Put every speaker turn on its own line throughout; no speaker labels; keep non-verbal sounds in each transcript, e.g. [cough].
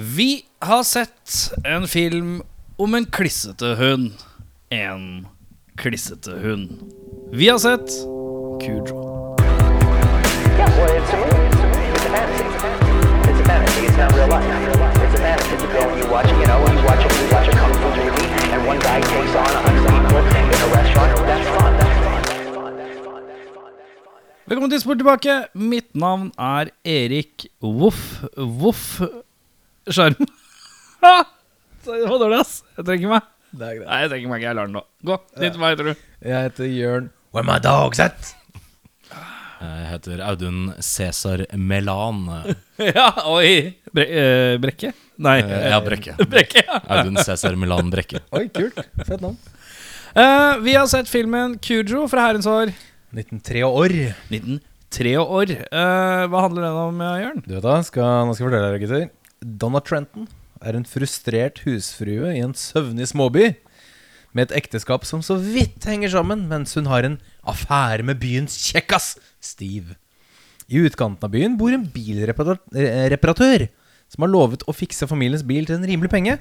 Vi har sett en film om en klissete hund. En klissete hund. Vi har sett Kujo.
Yeah, well, it's a movie. It's a movie. It's a fantasy. It's a fantasy. It's not real life. It's a fantasy. You go and you watch, you know, you watch, you watch a kung fu movie, and one guy takes on a hundred people in a restaurant. That's fun. That's fun. That's fun. That's fun. That's fun. That's fun.
Velkommen til Sport tilbake. Mitt navn er Erik Voff Voff Skjerm. [laughs] Ah! Sorry, Det var dårlig, ass. Jeg trenger meg.
Det er greit.
Nei, jeg trenger meg ikke. Jeg lar den nå. Gå. Ditt, hva heter du?
Jeg heter Jørn Where my dog's at?
Jeg heter Audun Cæsar Melan.
[laughs] Ja, oi. Bre eh, brekke? Nei.
Eh, ja, Brekke.
[laughs] Brekke, ja.
Audun Cæsar Melan Brekke.
Oi, kult. Fett navn.
Eh, vi har sett filmen Kujo fra herrens år
1903 år.
1903 år. Eh, hva handler den om, eh, Jørn?
Du vet da, skal, nå skal jeg fortelle deg, gutter. Donna Trenton er en frustrert husfrue i en søvnig småby. Med et ekteskap som så vidt henger sammen, mens hun har en affære med byens kjekkas, Steve. I utkanten av byen bor en bilreparatør som har lovet å fikse familiens bil til en rimelig penge.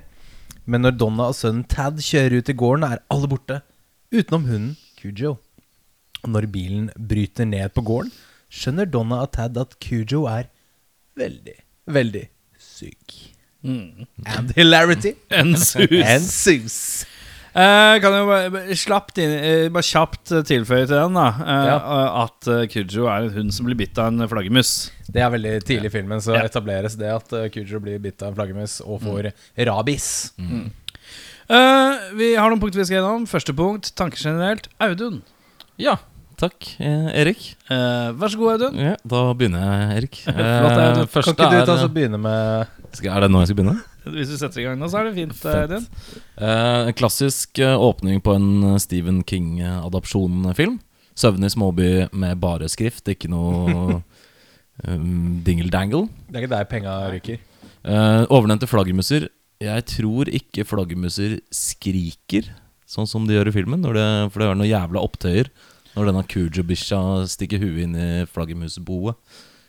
Men når Donna og sønnen Tad kjører ut i gården, er alle borte, utenom hunden Cujo. Og Når bilen bryter ned på gården, skjønner Donna og Tad at Cujo er veldig, veldig syk. And hilarity
En sus.
and sus.
[laughs] Eh, kan jeg bare, bare slapt inn, eh, bare kjapt eh, tilføye til den da eh, at eh, Kujo er en hund som blir bitt av en flaggermus.
Det er veldig tidlig i filmen, så etableres det at eh, Cujo blir bitt av en flaggermus og får rabies.
Mm.
Eh, vi har noen punkter vi skal gjennom. Første punkt, tanker generelt. Audun.
Ja, takk, eh, Erik.
Eh, vær så god, Audun.
Ja, da begynner jeg, [laughs] Erik. Eh,
Audun.
Kan
første
ikke du
er- eh,
ta så begynne med
skal, Er det nå jeg skal begynne?
Hvis du setter i gang nå, så er det fint. eh,
Fett.
Audun
Eh, klassisk eh, åpning på en eh, Stephen King-adopsjon-film. Søvnig småby med bare skrift, ikke noe [laughs] um, dingle-dangle.
Det er ikke der penga ryker.
Eh, overnevnte flaggermuser. Jeg tror ikke flaggermuser skriker sånn som de gjør i filmen. Når det, for det er noen jævla opptøyer når denne Kujo-bikkja stikker huet inn i flaggermusboet.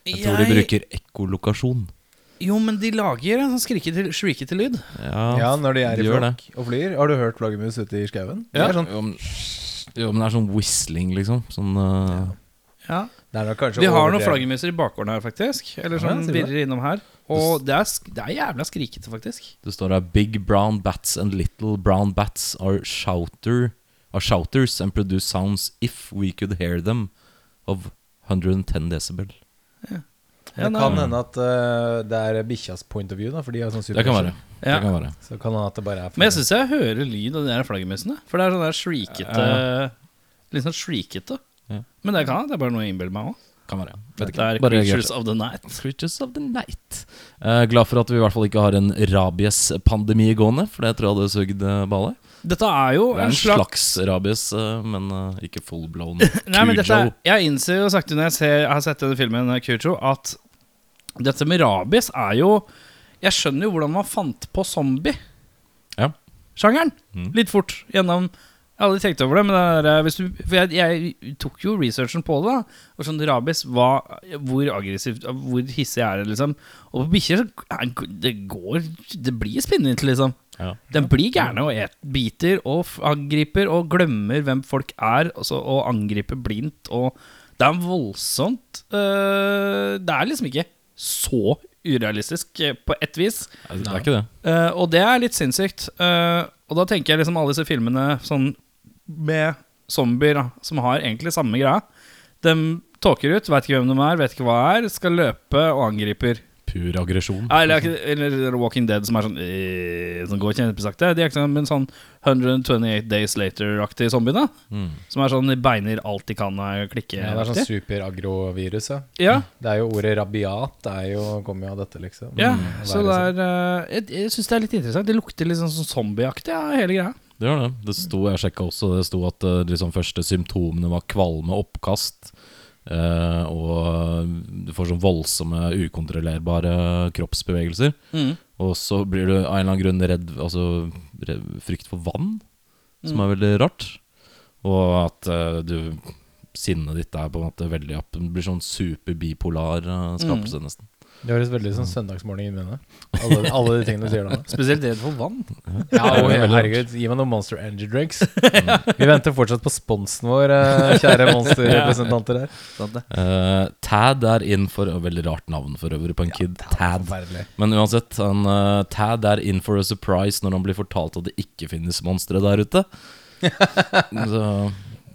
Jeg tror de bruker ekkolokasjon.
Jo, men de lager en sånn skrikete skrikete lyd.
Ja, når de er i
gjør
flokk og flyr. Har du hørt flaggermus ute i skauen? Det er sånn
jo, men- jo, men det er sånn whistling, liksom. Sånn, eh,
Ja.
Det er nok kanskje
Vi har noen
overdrevet.
flaggermuser i bakgården her, faktisk. Eller som
Ja, sier du det?
virrer innom her. Og det er, sk- det er jævla skrikete, faktisk.
Det står her Big brown bats and little brown bats are, shouter, are shouters and produce sounds if we could hear them of 110 decibel.
Ja,
Det
nei.
kan hende at eh, det er bikkjas point of view, da, for de har sånn
Det kan være.
Ja.
Det kan være.
Så kan hende at det bare er
Men jeg syns jeg hører lyd av de der flaggermusene. For det er sånn der slikete Litt sånn slikete.
Ja.
Men det kan jeg, det er bare noe jeg innbiller meg òg.
Kan være.
Det
Vet ikke.
er
Bare reagerte.
Creatures of the Night.
Creatures of the Night. Eh, glad for at vi i hvert fall ikke har en rabiespandemi gående, for det tror jeg hadde sugd eh, baller.
Dette er jo
Det er
en
en
slags
slags rabies, eh, men eh, ikke fullblown.
[laughs] Nei, men dette,
Cujo.
Jeg innser jo sakte når jeg, ser, jeg har sett denne filmen, eh, Kujo, at dette med rabies er jo Jeg skjønner jo hvordan man fant på zombie-sjangeren.
Ja.
Litt fort gjennom Jeg har aldri tenkt over det, men det er, eh, hvis du, for jeg, jeg tok jo researchen på det. da Og sånn rabies, hva, hvor aggressivt, hvor hissig er det, liksom? Og på bikkjer så er- det går Det blir spinnete, liksom.
Ja.
Den blir gærne og et, biter og f- angriper og glemmer hvem folk er, og, så, og angriper blindt. Og det er voldsomt. eh, det er liksom ikke så urealistisk eh, på ett vis.
altså, Det er ikke det.
Eh, og det er litt sinnssykt. Eh, og da tenker jeg liksom alle disse filmene sånn med zombier da, som har egentlig samme greia. De tåker ut, veit ikke hvem de er, vet ikke hva er, skal løpe og angriper.
Pur aggresjon.
Nei, Eller, eller Walking Dead, som er sånn eh, Som går kjempesakte. De er ikke sånn, men sånn 128 Days Later-aktig zombie, da.
Mm.
Som er sånn beiner alt de kan og klikke.
Ja, det er sånn superagrovirus, ja.
ja,
Det er jo ordet rabiat det er jo, kommer jo av dette, liksom.
ja.
Mm,
Så det
være
er eh, Jeg, jeg syns det er litt interessant. Det lukter litt sånn sånn zombieaktig, ja, hele greia.
Det gjør det. Det sto, jeg sjekka også, det sto at eh, liksom første symptomene var kvalme, oppkast. eh, og du får sånn voldsomme, ukontrollerbare kroppsbevegelser.
Mm.
Og så blir du av en eller annen grunn redd Altså re- frykt for vann, som
Mm.
er veldig rart. Og at eh,
Mm.
du Sinnet ditt er på en måte veldig opp, blir sånn superbipolar uh, eh, skapelse, nesten.
Det høres veldig sånn søndagsmorgen inn i henne. Alle, alle de tingene du sier nå.
Spesielt redd for vann.
[laughs] Ja,
Det er
og
veldig rart.
herregud, gi meg noen Monster Energy [laughs] Drinks. Mm. Vi venter fortsatt på sponsen vår, eh, kjære Monster-representanter [laughs] her.
Sant det?
Eh, Tad er inn for et Veldig rart navn for øvrig på en kid. Tad.
Forferdelig.
Men uansett, han, eh, Tad er in for a surprise når han blir fortalt at det ikke finnes monstre der
[laughs]
ute. Så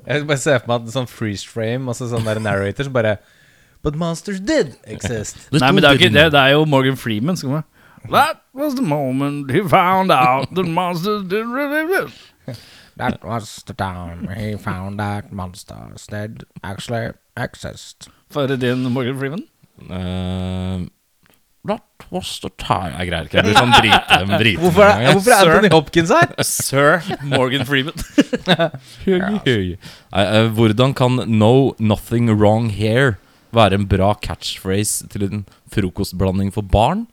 Jeg bare ser for meg at sånn freeze frame, altså sånn der narrator som bare But monsters did exist.
Nei, men det er jo ikke det. Det er jo Morgan Freeman som kommer. That was the moment he found out the monster did really
That was the town he found that monsters did actually exist.
For din Morgan Freeman.
Eh, That was the time Jeg greier ikke. Jeg blir sånn drite, men drite
Hvorfor er, hvorfor er Anthony Hopkins her?
[laughs]
Sir Morgan Freeman.
Nei, eh, Hvordan kan 'no nothing wrong here' være en bra catchphrase til en frokostblanding for barn?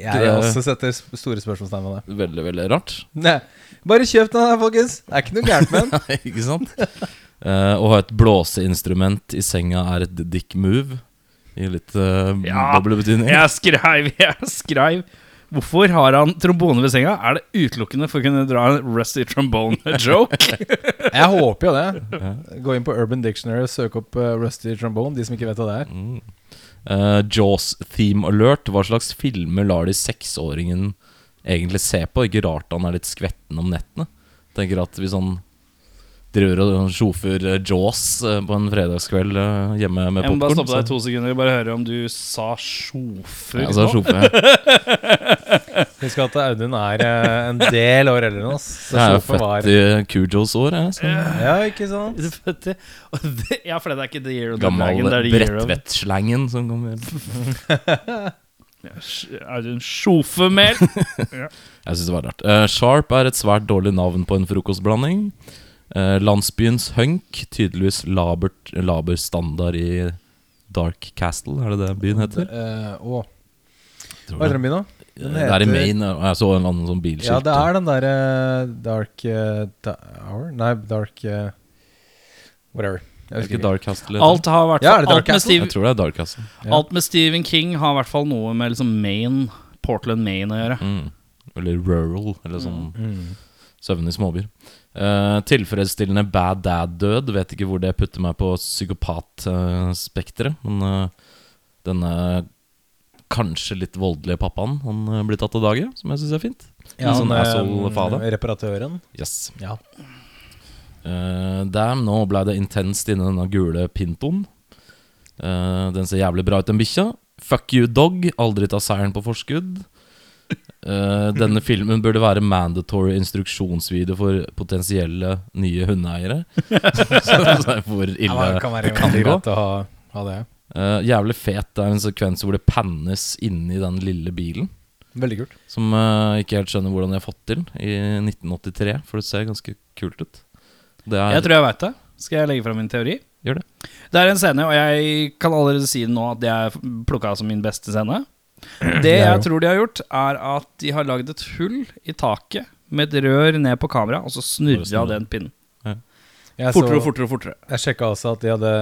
Jeg også setter sp- store spørsmålstegn ved det.
Veldig, veldig rart.
Nei. Bare kjøp den her, folkens. Det er ikke noe gærent med den.
Nei, ikke sant? [laughs] Eh, å ha et blåseinstrument i senga er et dick move. I litt uh,
Ja.
boblebetydning.
Jeg skreiv, [laughs] jeg skreiv. Hvorfor har han trombone ved senga? Er det utelukkende for å kunne dra en rusty
[laughs]
trombone-joke?
Jeg håper jo det. Gå inn på Urban Dictionary og søk opp eh, Rusty Trombone, de som ikke vet hva det er.
Mm. Eh, Jaws theme alert. Hva slags filmer lar de seksåringen egentlig se på? Ikke rart han er litt skvetten om nettene. Tenker at hvis han driver og sjofer eh, Jaws eh, på en fredagskveld eh, hjemme med
Jeg må bare
popkorn
stoppe deg i to sekunder og bare høre om du sa sjofer.
ja, så
nå. [laughs]
sjofer jeg.
Husk at Audun er eh, en del år eldre enn oss. Så
Jeg er jo
sjofen var-
født i Kujos år, jeg. Så.
Ja, ikke sant?
Du vet det. Og det- Ja, for det er ikke The Year of the Dragon. Det
Gammel
er The Year of
Bredtvet-slangen som kommer.
Er du en
[laughs]
sjofemel?
Jeg synes det var rart. Eh, Sharp er et svært dårlig navn på en frokostblanding. Eh, landsbyens hunk, tydeligvis labert, laber standard i Dark Castle, er det det byen heter?
Eh, å,
Tror
Hva heter
det.
den byen, da? Den
Det er i
heter-
Maine, og jeg så en eller annen sånn bilskilt.
Ja, det er den derre Dark eh, Tower Nei, Dark eh, Whatever.
Er det ikke Dark Castle. det
Alt har vært
Ja, er det
alt,
Dark
med
Castle?
heter?
Steve,
Jeg tror det er Dark Castle.
Ja.
alt med Stephen King har i hvert fall noe med liksom Maine, Portland, Maine å gjøre.
Mm. Eller rural, eller sånn
Mm.
søvnig småbyer. Eh, tilfredsstillende bad dad-død. Vet ikke hvor det putter meg på psykopatspekteret. men eh, denne kanskje litt voldelige pappaen han eh, blir tatt av dage, som jeg syns er fint.
Ja,
sånn
han,
asshole
eh,
fader.
Reparatøren.
Yes.
Ja.
Eh, damn, nå ble det intenst inni denne gule pintoen. Eh, den ser jævlig bra ut, den bikkja. Fuck you, dog. Aldri ta seieren på forskudd. Eh,
[laughs]
denne filmen burde være mandatory instruksjonsvideo for potensielle nye hundeeiere. [laughs] så, så er
Ja,
hvor
men
ille
det kan være
kan
veldig
gå.
greit å ha, ha det.
Eh, Jævlig fet det er en sekvens hvor det pannes inni den lille bilen.
Veldig kult.
Som eh, ikke helt skjønner hvordan de har fått til i 1983, for det ser ganske kult ut. Det er,
Jeg tror jeg veit det. Skal jeg legge fram min teori?
Gjør det.
Det er en scene, og jeg kan allerede si nå at det er plukka som min beste scene. Det
er
jeg
jo-
tror de har gjort, er at de har lagd et hull i taket med et rør ned på kameraet, og så
Bare
snurra
snurra.
den pinnen.
Jeg
Fortere og
så-
fortere og fortere.
Jeg sjekka også at de hadde,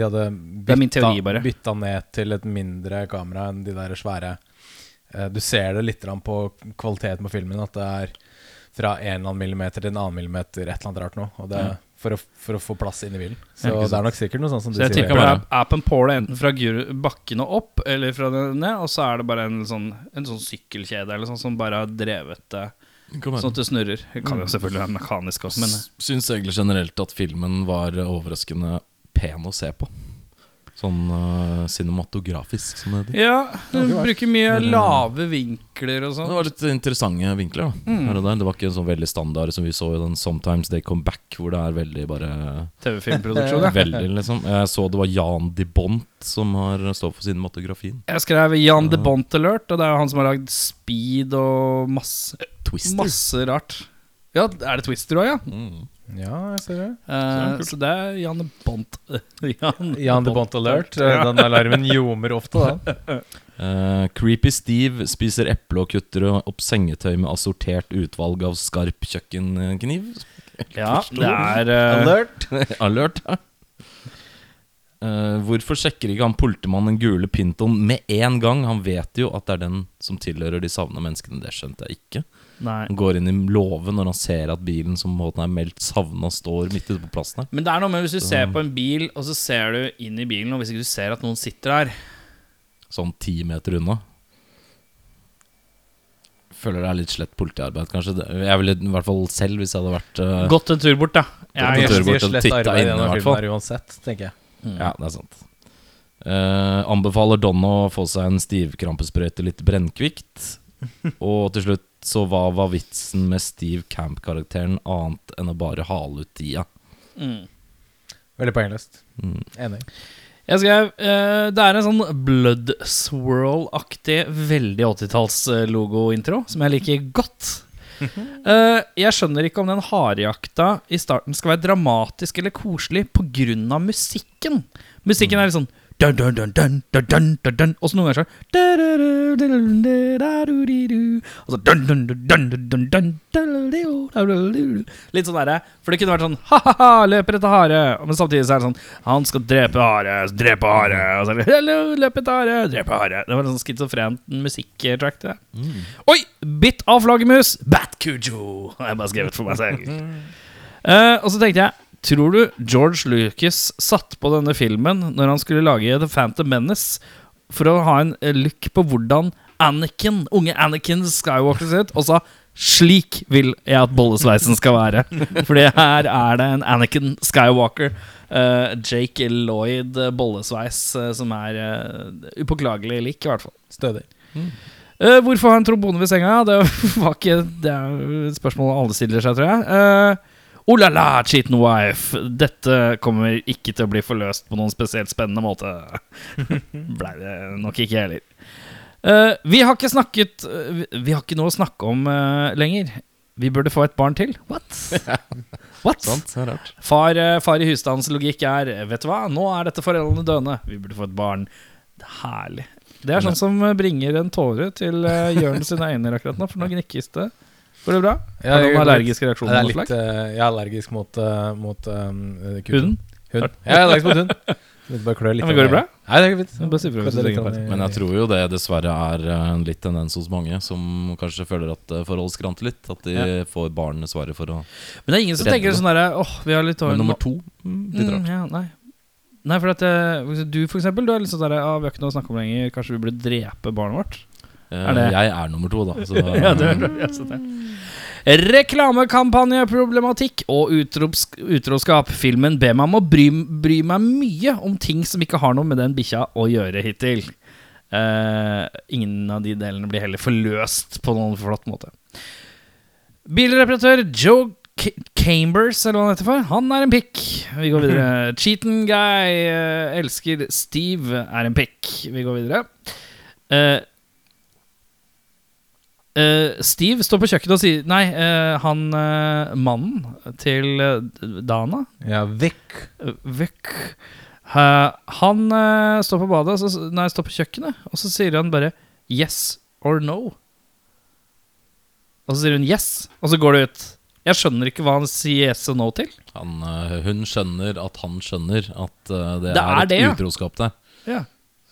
de hadde
Det er min teori, bare.
bytta ned til et mindre kamera enn de der svære. Eh, Du ser det litt grann på kvaliteten på filmen, at det er fra en eller annen millimeter til en annen millimeter, et eller annet rart noe. Og det er for, å, for å få plass inni bilen. Så
Ja, ikke sant.
det er nok sikkert noe sånt som du
Så jeg
sier.
tipper
det
det
kan
er appen Paula enten fra guru- bakken og opp, eller fra den ned, og så er det bare en sånn, en sånn sykkelkjede eller sånn som bare har drevet det,
Kom her.
sånn at det snurrer. Det kan jo selvfølgelig være mekanisk også, men
S- Syns egentlig generelt at filmen var overraskende pen å se på. Sånn eh, cinematografisk, som det heter.
Ja, du
var-
bruker mye lave vinkler og
Det
sånn.
var litt interessante vinkler. da
Mm.
Her og der. Det var ikke en sånn veldig standard som vi så i den Sometimes They Come Back, hvor det er veldig bare
TV-filmproduksjon, ja.
Veldig, liksom. Jeg så det var Jan de Bont som har står for cinematografien.
Jeg skrev Jan de Bont Alert, og det er jo han som har lagd Speed og masse,
Twister.
masse rart. Ja, er det Twister òg, ja?
Mm.
Ja, jeg ser det.
Eh, så det er Jan de Bont [laughs] Jan,
Jan de Bont Alert. [laughs] Den alarmen ljomer ofte, da.
Eh, creepy Steve spiser eple og kutter opp sengetøy med assortert utvalg av skarp kjøkkenkniv.
Ja, det er eh,
Alert.
Alert. Eh, hvorfor sjekker ikke han politimannen den gule pintoen med en gang? Han vet jo at det er den som tilhører de savna menneskene. Det skjønte jeg ikke.
Nei.
Han går inn i låven når han ser at bilen som på en måte er meldt savna, står midt ute på plassen her.
Men det er noe med hvis du ser på en bil, og så ser du inn i bilen, og hvis ikke du ser at noen sitter der
Sånn ti meter unna. Føler det er litt slett politiarbeid, kanskje. Det- Jeg ville i hvert fall selv, hvis jeg hadde vært eh,
Gått en tur bort, da.
Ja,
Jeg,
jeg-
jeg,
tør bort og
slett
titte
arbeid
inn i
i denne
hvert
filmen
fall.
her uansett, tenker jeg.
Mm. Ja, det er sant. Eh, anbefaler Don å få seg en stivkrampesprøyte litt brennkvikt. Og til slutt, så hva var vitsen med Steve Camp-karakteren annet enn å bare hale ut tida?
Mm.
Veldig poengløst.
Mm.
Enig.
jeg skrev eh, Det er en sånn Blood Swirl-aktig, veldig 80-talls-logo-intro som jeg liker godt. Eh, jeg skjønner ikke om den harejakta i starten skal være dramatisk eller koselig pga. musikken. Musikken er litt sånn dun, dun, dun, dun, dun, dun, dun, dun. Og så noen ganger så da-da-da-da-da-da-da-da-da-da. Og så dun, dun, dun, dun, dun, dun, dun, da-da-da-da-da-da-da-da. Litt sånn derre. For det kunne vært sånn ha-ha-ha, løper etter hare. Men samtidig så er det sånn Han skal drepe hare, drepe hare. Og så er det hello, løp etter hare, drepe hare. Det var en sånn schizofrent musikktrack til det. Oi! Bitt av flaggermus. Batcujo. Har jeg bare skrevet for meg selv. Eh, og så tenkte jeg Tror du George Lucas satt på denne filmen når han skulle lage The Phantom Menace, for å ha en eh, look på hvordan Anakin, unge Anakin Skywalker ser ut, og sa 'slik vil jeg at bollesveisen skal være'? Fordi her er det en Anakin Skywalker, eh, Jake Lloyd eh, Bollesveis, eh, som er eh, upåklagelig lik, i hvert fall.
Stødig.
Eh, hvorfor ha en trombone ved senga? Det [laughs] var ikke Det er jo et spørsmål alle stiller seg, tror jeg. Eh, oh la la, cheatin' wife. Dette kommer ikke til å bli forløst på noen spesielt spennende måte. Blei det nok ikke heller. Eh, vi har ikke snakket eh, vi- Vi har ikke noe å snakke om eh, lenger. Vi burde få et barn til. What? What? Far, eh, far i husstandens logikk er eh, Vet du hva, nå er dette foreldrene døende. Vi burde få et barn. Det er herlig. Det er sånn som eh, bringer en tåre til eh, Jørn sine øyne akkurat nå, for nå gnikkes det. Går det bra?
Ja,
Har du
det
noen
går litt.
allergiske
Ja, det
reaksjoner
er
mot
litt,
flagg?
eh, jeg er allergisk mot, eh, mot eh, kuken.
Huden?
Hund. Ja, jeg er allergisk mot hund. Begynte bare å klø litt.
Ja, men går det bra?
Nei, det går fint.
Bare si ifra hvis
Klødde
du
litt
trenger
grann
bare.
i-
Men jeg tror jo det dessverre er eh, en litt tendens hos mange, som kanskje føler at det forholdet skranter litt. At de får barnet svaret for å
Men det er ingen som
Redde
tenker
det.
sånn derre Åh, vi har litt
Men
hår
nummer to, mm, litt
Mm,
rart.
ja, nei. nei, for at eh, hvis du for eksempel, du er litt sånn derre ah, Vi har ikke noe å snakke om lenger, kanskje vi burde drepe barnet vårt?
Eh,
er det-
Jeg er nummer to, da.
[laughs]
Så, um,
Ja, det hører jeg også til. Reklamekampanjeproblematikk og utrops- utroskap. Filmen ber meg om å bry, bry meg mye om ting som ikke har noe med den bikkja å gjøre hittil. Eh, ingen av de delene blir heller forløst på noen flott måte. Bilreparatør Joe K Chambers, eller hva han heter for, han er en pikk. Vi går videre. Cheaten guy eh, elsker Steve er en pikk. Vi går videre. Eh, Eh, Steve står på kjøkkenet og sier Nei, eh, han eh, mannen til eh, Dana
Ja, vekk.
eh, Vøkk eh, Han eh, står på badet så, Nei, står på kjøkkenet Og så sier han bare Yes or no Og så sier hun yes Og så går det ut Jeg skjønner ikke hva han sier yes og no til
Han, eh, hun skjønner at han skjønner at eh,
Det
det, er,
er
et
det, ja.
utroskap der.
Ja.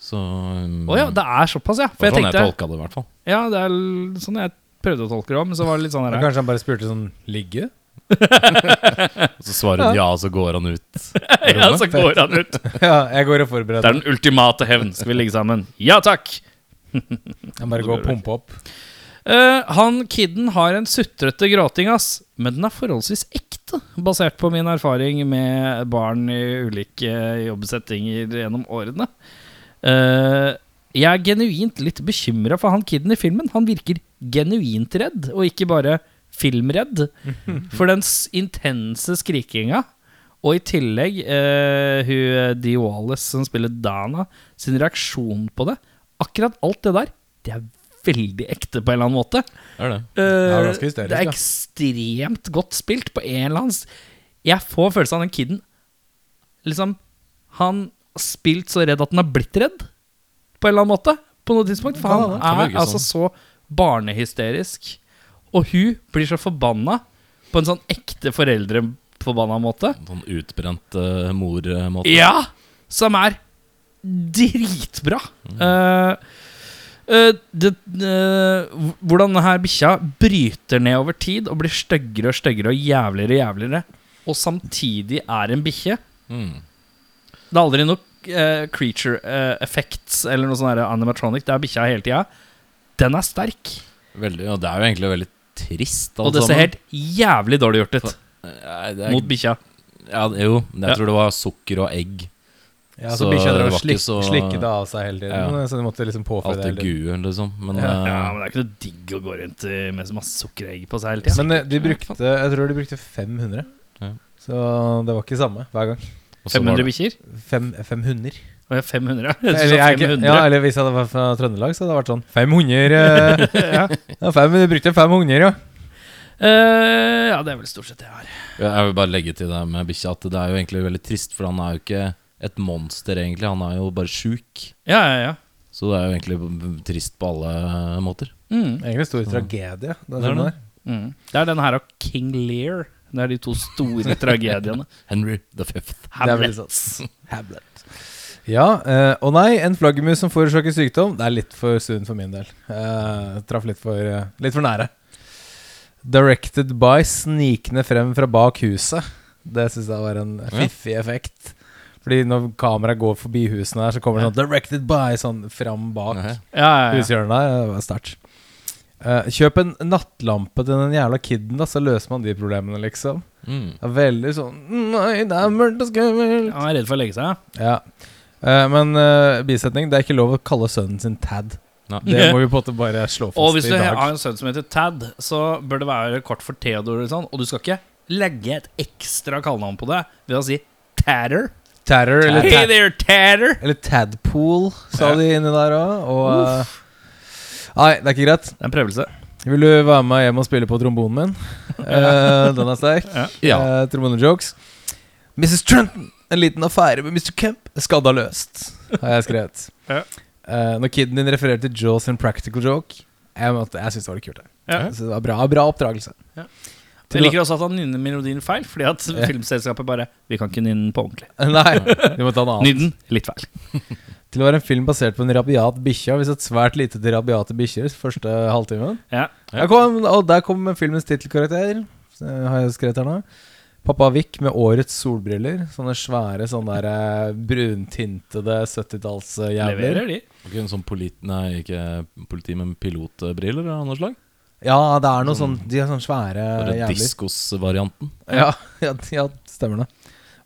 Så um,
Åja, det er såpass ja For
var
jeg
sånn jeg
tenkte
tolka det, i hvert fall.
Ja, det er l- sånn jeg prøvde å tolke det om Men så var det litt sånn
Men
her
Kanskje han bare spurte sånn Ligge?
Og så svarer hun ja, og så går han ut.
[laughs] Ja, så går han ut
[laughs] ja, jeg går og forbereder
Det er den ultimate hevn Skal vi ligge sammen Ja, takk
Jeg bare går og pumper opp.
Eh, han kidden har en sutrete gråting, ass. Men den er forholdsvis ekte, basert på min erfaring med barn i ulike jobbsettinger gjennom årene. Eh, jeg er genuint litt bekymra for han kidden i filmen. Han virker genuint redd, og ikke bare filmredd. For den s- intense skrikinga, og i tillegg eh, hun Dee Wallace som spiller Dana, sin reaksjon på det Akkurat alt det der, det er veldig ekte på en eller annen måte.
Det er det.
er
Eh,
ganske hysterisk,
det er
ja.
ekstremt godt spilt på en eller annen s- Jeg får følelsen av den kiden Liksom Han har spilt så redd at han er blitt redd På en eller annen måte På noe tidspunkt For han
kan
er
virke
altså
sånn.
så barnehysterisk Og hun blir så forbanna På en sånn ekte foreldreforbanna måte
Sånn utbrent eh, mor-måte.
Ja! som er dritbra. Eh, eh, det, eh, hv- hvordan denne her bikkja bryter ned over tid og blir styggere og styggere og jævligere og jævligere, og samtidig er en bikkje.
Mm.
Det er aldri nok eh, creature eh, effects eller noe sånn her animatronic. Det er bikkja hele tida. Den er sterk,
Veldig, ja, det sånn- er jo egentlig veldig trist. altså,
og det ser helt jævlig dårlig gjort ut mot bikkja.
Ja, det- jo, men jeg
Ja.
tror det var sukker og egg.
Ja, så
Så
bikkja drev og
det var ikke
slik,
så-
slikket det av seg hele tiden.
Ja.
Så de måtte liksom påføre
Alt
det. hele
det
tiden.
guen, liksom. Men,
Ja,
eh,
men det er ikke noe digg å gå rundt eh, med så masse sukkeregg på seg hele tida.
Men eh, de brukte Jeg tror de brukte 500.
Ja.
Så det var ikke samme hver gang.
og så var
500
det-
bikkjer?
Fem, 500.
Å ja, 500.
Eller,
Eller,
jeg, er ikke-
500.
ja, eller hvis jeg hadde vært fra Trøndelag, så hadde det vært sånn 500 eh, ja. ja, fem, Du brukte 500, ja.
Eh, ja, det er vel stort sett det jeg har.
Jeg vil bare legge til det med bikkja at det er jo egentlig veldig trist, for han er jo ikke et monster, egentlig. Han er jo bare sjuk.
Ja, ja, ja.
Så det er jo egentlig b- trist på alle måter.
Mm.
Egentlig stor tragedie. Den
Det er
filmen
det.
der.
Mm. Det er den her og King Lear. Det er de to store tragediene.
[laughs]
Henry the fifth.
Det er veldig
Hamlet.
sant. Hamlet. Ja. eh, Å nei, en flaggermus som forårsaker sykdom. Det er litt for sunt for min del. Eh, traff litt for, eh, litt for nære. Directed by snikende frem fra bak huset. Det syns jeg var en fiffig effekt. Fordi når kameraet går forbi husene her, så kommer det sånn 'Directed by' sånn fram bak
Ok.
Ja, ja, ja.
hushjørnet der. Det var sterkt. Eh, kjøp en nattlampe til den jævla kiden, da, så løser man de problemene, liksom.
Mm.
Det er veldig sånn 'Nei, det er mørkt og skummelt'.
Han er redd for å legge seg.
Ja. Eh, men eh, bisetning, det er ikke lov å kalle sønnen sin Tad.
Nei.
[laughs]
Det må vi på en måte bare slå
Og
fast
hvis
i
du
dag.
har en sønn som heter Tad, så bør det være kort for Theodor. Og, sånn, og du skal ikke legge et ekstra kallenavn på det ved å si Tatter.
Terror eller,
Hey
ta
there, Tatter!
eller Tadpool, sa de inni der òg. Og eh, Nei, det er ikke greit.
Det er en prøvelse.
Vil du være med hjem og spille på
[laughs]
trombonen min? Eh, den er sterk.
Ja.
Eh, Trombonejokes. Mrs. Trenton, en liten affære med Mr. Kemp. Skadda løst, har jeg skrevet.
Ja.
Eh, når kiden din refererer til Jaws and Practical Joke Jeg, måtte- jeg syns det var litt kult. jeg.
Ja.
Så det var bra, bra oppdragelse.
Jeg liker også at han nynner melodien feil, fordi at filmselskapet bare Vi kan ikke nynne den på ordentlig.
[laughs] Nei, du må ta en annen.
Nynn den litt feil.
Til å være en film basert på en rabiat bikkje har vi sett svært lite til rabiate bikkjer første halvtimen.
Ja.
Der kom, og der kom filmens tittelkarakter, eh, har jeg skrevet her nå. Pappa Vick med årets solbriller. Sånne svære, sånne der eh, bruntintede eh, 70-tallsjævler.
Leverer de.
Ikke en sånn polit... Nei, ikke politi, men pilotbriller av noe slag.
Ja, det er noe sånn De er sånne svære
Bare
jævler.
diskos-varianten.
Ja, [laughs] ja, ja, stemmer det.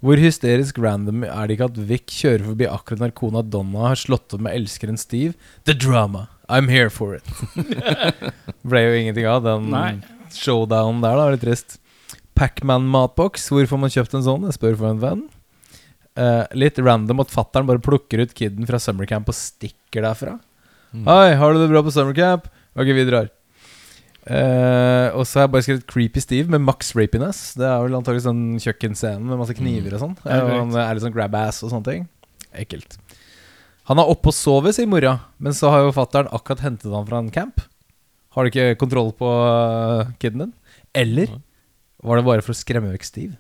Hvor hysterisk random er det ikke at Vic kjører forbi akkurat når kona Donna har slått opp med elskeren Steve? The drama. I'm here for it. [laughs] Ble jo ingenting av den
Nei.
showdownen der, da. Litt trist. Pacman-matboks. Hvor får man kjøpt en sånn? Jeg spør for en venn. Eh, litt random at fattern bare plukker ut kiden fra summercamp og stikker derfra. Hei, har du det bra på summercamp? Ok, vi drar. Eh, og så har jeg bare skrevet Creepy Steve med Max Rapiness. Det er vel antakelig sånn kjøkkenscenen med masse kniver og sånn.
Ja,
Eh, og
korrekt.
han er litt sånn grab ass og sånne ting. Ekkelt. Han er oppe og sover, sier mora, men så har jo fattern akkurat hentet han fra en camp. Har du ikke kontroll på eh, kiden din? Eller var det bare for å skremme vekk Steve?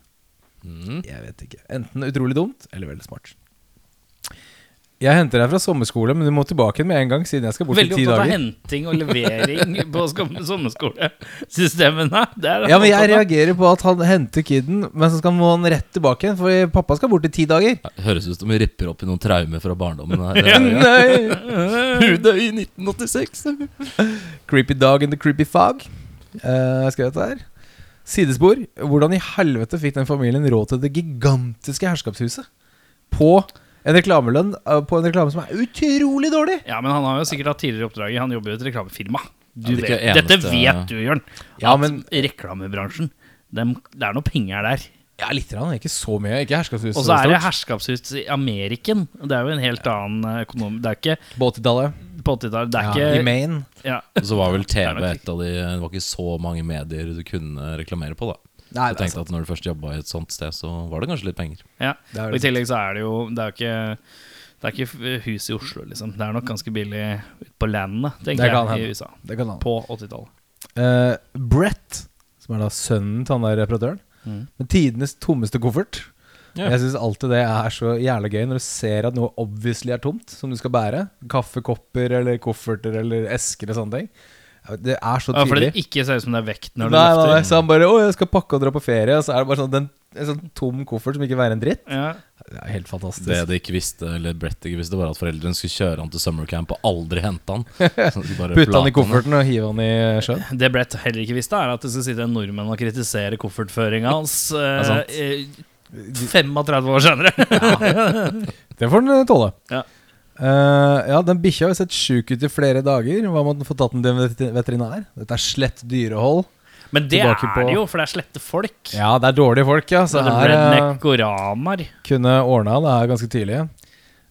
Mm.
Jeg vet ikke. Enten utrolig dumt eller veldig smart. Jeg henter deg fra sommerskole, men du må tilbake igjen med en gang, siden jeg skal bort i
Veldig
ti
opptatt av
dager.
henting og
[laughs]
levering på skam- sommerskolesystemene. [laughs] Det er han
Ja, men jeg
opptatt av.
reagerer på at han henter kiden, men så skal må han rett tilbake igjen, for pappa skal bort i ti dager.
Høres ut som vi ripper opp i noen traumer fra barndommen
[laughs]
her. [laughs]
Nei!
Hudet i
[laughs]
1986.
Creepy dog in the creepy fog. Eh, skrev jeg dette her. Sidespor. Hvordan i helvete fikk den familien råd til det gigantiske herskapshuset? På en reklamelønn eh, På en reklame som er utrolig dårlig!
[laughs] Ja, men han har jo sikkert hatt tidligere oppdrag. Han jobber jo i et reklamefirma. Du
Ja, det er
vet,
ikke
dette
eneste-
vet du, Jørn.
Ja,
at
men-
reklamebransjen dem, Det er noe penger der.
Ja, litt. Rann. Ikke så mye. Ikke herskapshuset.
Og så er det
stort.
herskapshus i Ameriken. Det er jo en helt annen eh, økonom... Det er ikke
På 80-tallet.
på 80-tallet. Det
Ja, I
er ikke
Maine.
ja.
Og så var vel
er
TV
nok
et av de Det var ikke så mange medier du kunne reklamere på, da.
Nei,
Jeg
altså,
tenkte at når du først jobba i et sånt sted, så var det kanskje litt penger.
ja.
Det er
Og I tillegg så er det jo Det er jo ikke det er ikke hus i Oslo, liksom. Det er nok ganske billig ute på landet,
Det
tenker
kan
jeg, i
hende.
USA.
Det kan han.
På 80-tallet.
Eh, Brett, som er da sønnen til han der reparatøren,
Mm.
med tidenes tommeste koffert.
Ja.
Jeg syns alltid det er så jævlig gøy når du ser at noe obviously er tomt, som du skal bære. Kaffekopper eller kofferter eller esker og sånne ting. Det er så
Ja, for
tydelig.
det ikke ser ut som det er vekt når du
nei, nei, nei,
løfter.
så han bare 'Å, jeg skal pakke og dra på ferie', og så er det bare sånn den, en sånn tom koffert som ikke veier en dritt.
Ja.
Det er helt fantastisk.
Det de ikke visste, eller Brett ikke visste, var at foreldrene skulle kjøre han til summercamp og aldri
[laughs]
hente han. Så de bare
Putte han i
plate ned.
kofferten og hive han i sjøen.
Det Brett heller ikke visste, er at det skal sitte en nordmann og kritisere koffertføringa
[laughs]
hans
er sant.
eh, eh, 35 år senere.
Det får den eh, tåle.
Ja.
Eh, ja, den bikkja har jo sett sjuk ut i flere dager. Hva må den få tatt den til en veter- veterinær? Dette er slett dyrehold.
[laughs] Men det
Tilbake
er
på-
det jo, for det er slette folk.
Ja, det er dårlige folk, ja. Så
Så det
her eh,
redneck og ramar.
kunne ordna det her ganske tidlig.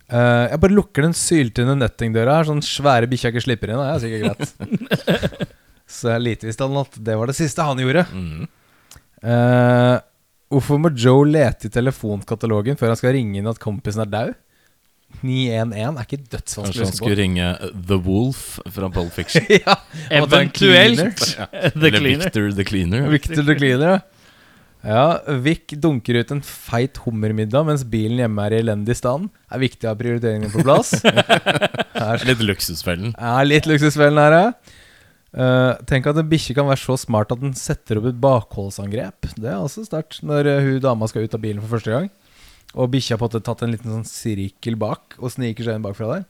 Eh, jeg bare lukker den syltynne nettingdøra her, sånn svære bikkja ikke slipper inn. Det er sikkert greit. [laughs] så lite visste han at det var det siste han gjorde.
Mhm.
Eh, hvorfor må Joe lete i telefonkatalogen før han skal ringe inn at kompisen er dau? 911 er ikke
Kanskje
dødsvanskelig å
han
huske
skulle
på.
ringe The Wolf fra Pulp
[laughs]
Fiction.
ja, han må ta en
[laughs]
cleaner.
Eventuelt The
eller
Cleaner.
Victor the Cleaner.
Victor the Cleaner, ja. Ja, Vic dunker ut en feit hummermiddag mens bilen hjemme er i elendig stand. Er viktig å ha prioriteringene på plass. Her
Litt Luksusfellen.
er litt luksusfellen her, ja. Eh, tenk at en bikkje kan være så smart at den setter opp et bakholdsangrep. Det er også sterkt når eh, hun dama skal ut av bilen for første gang. Og bikkja har på en måte tatt en liten sånn sirkel bak og sniker seg inn bakfra der.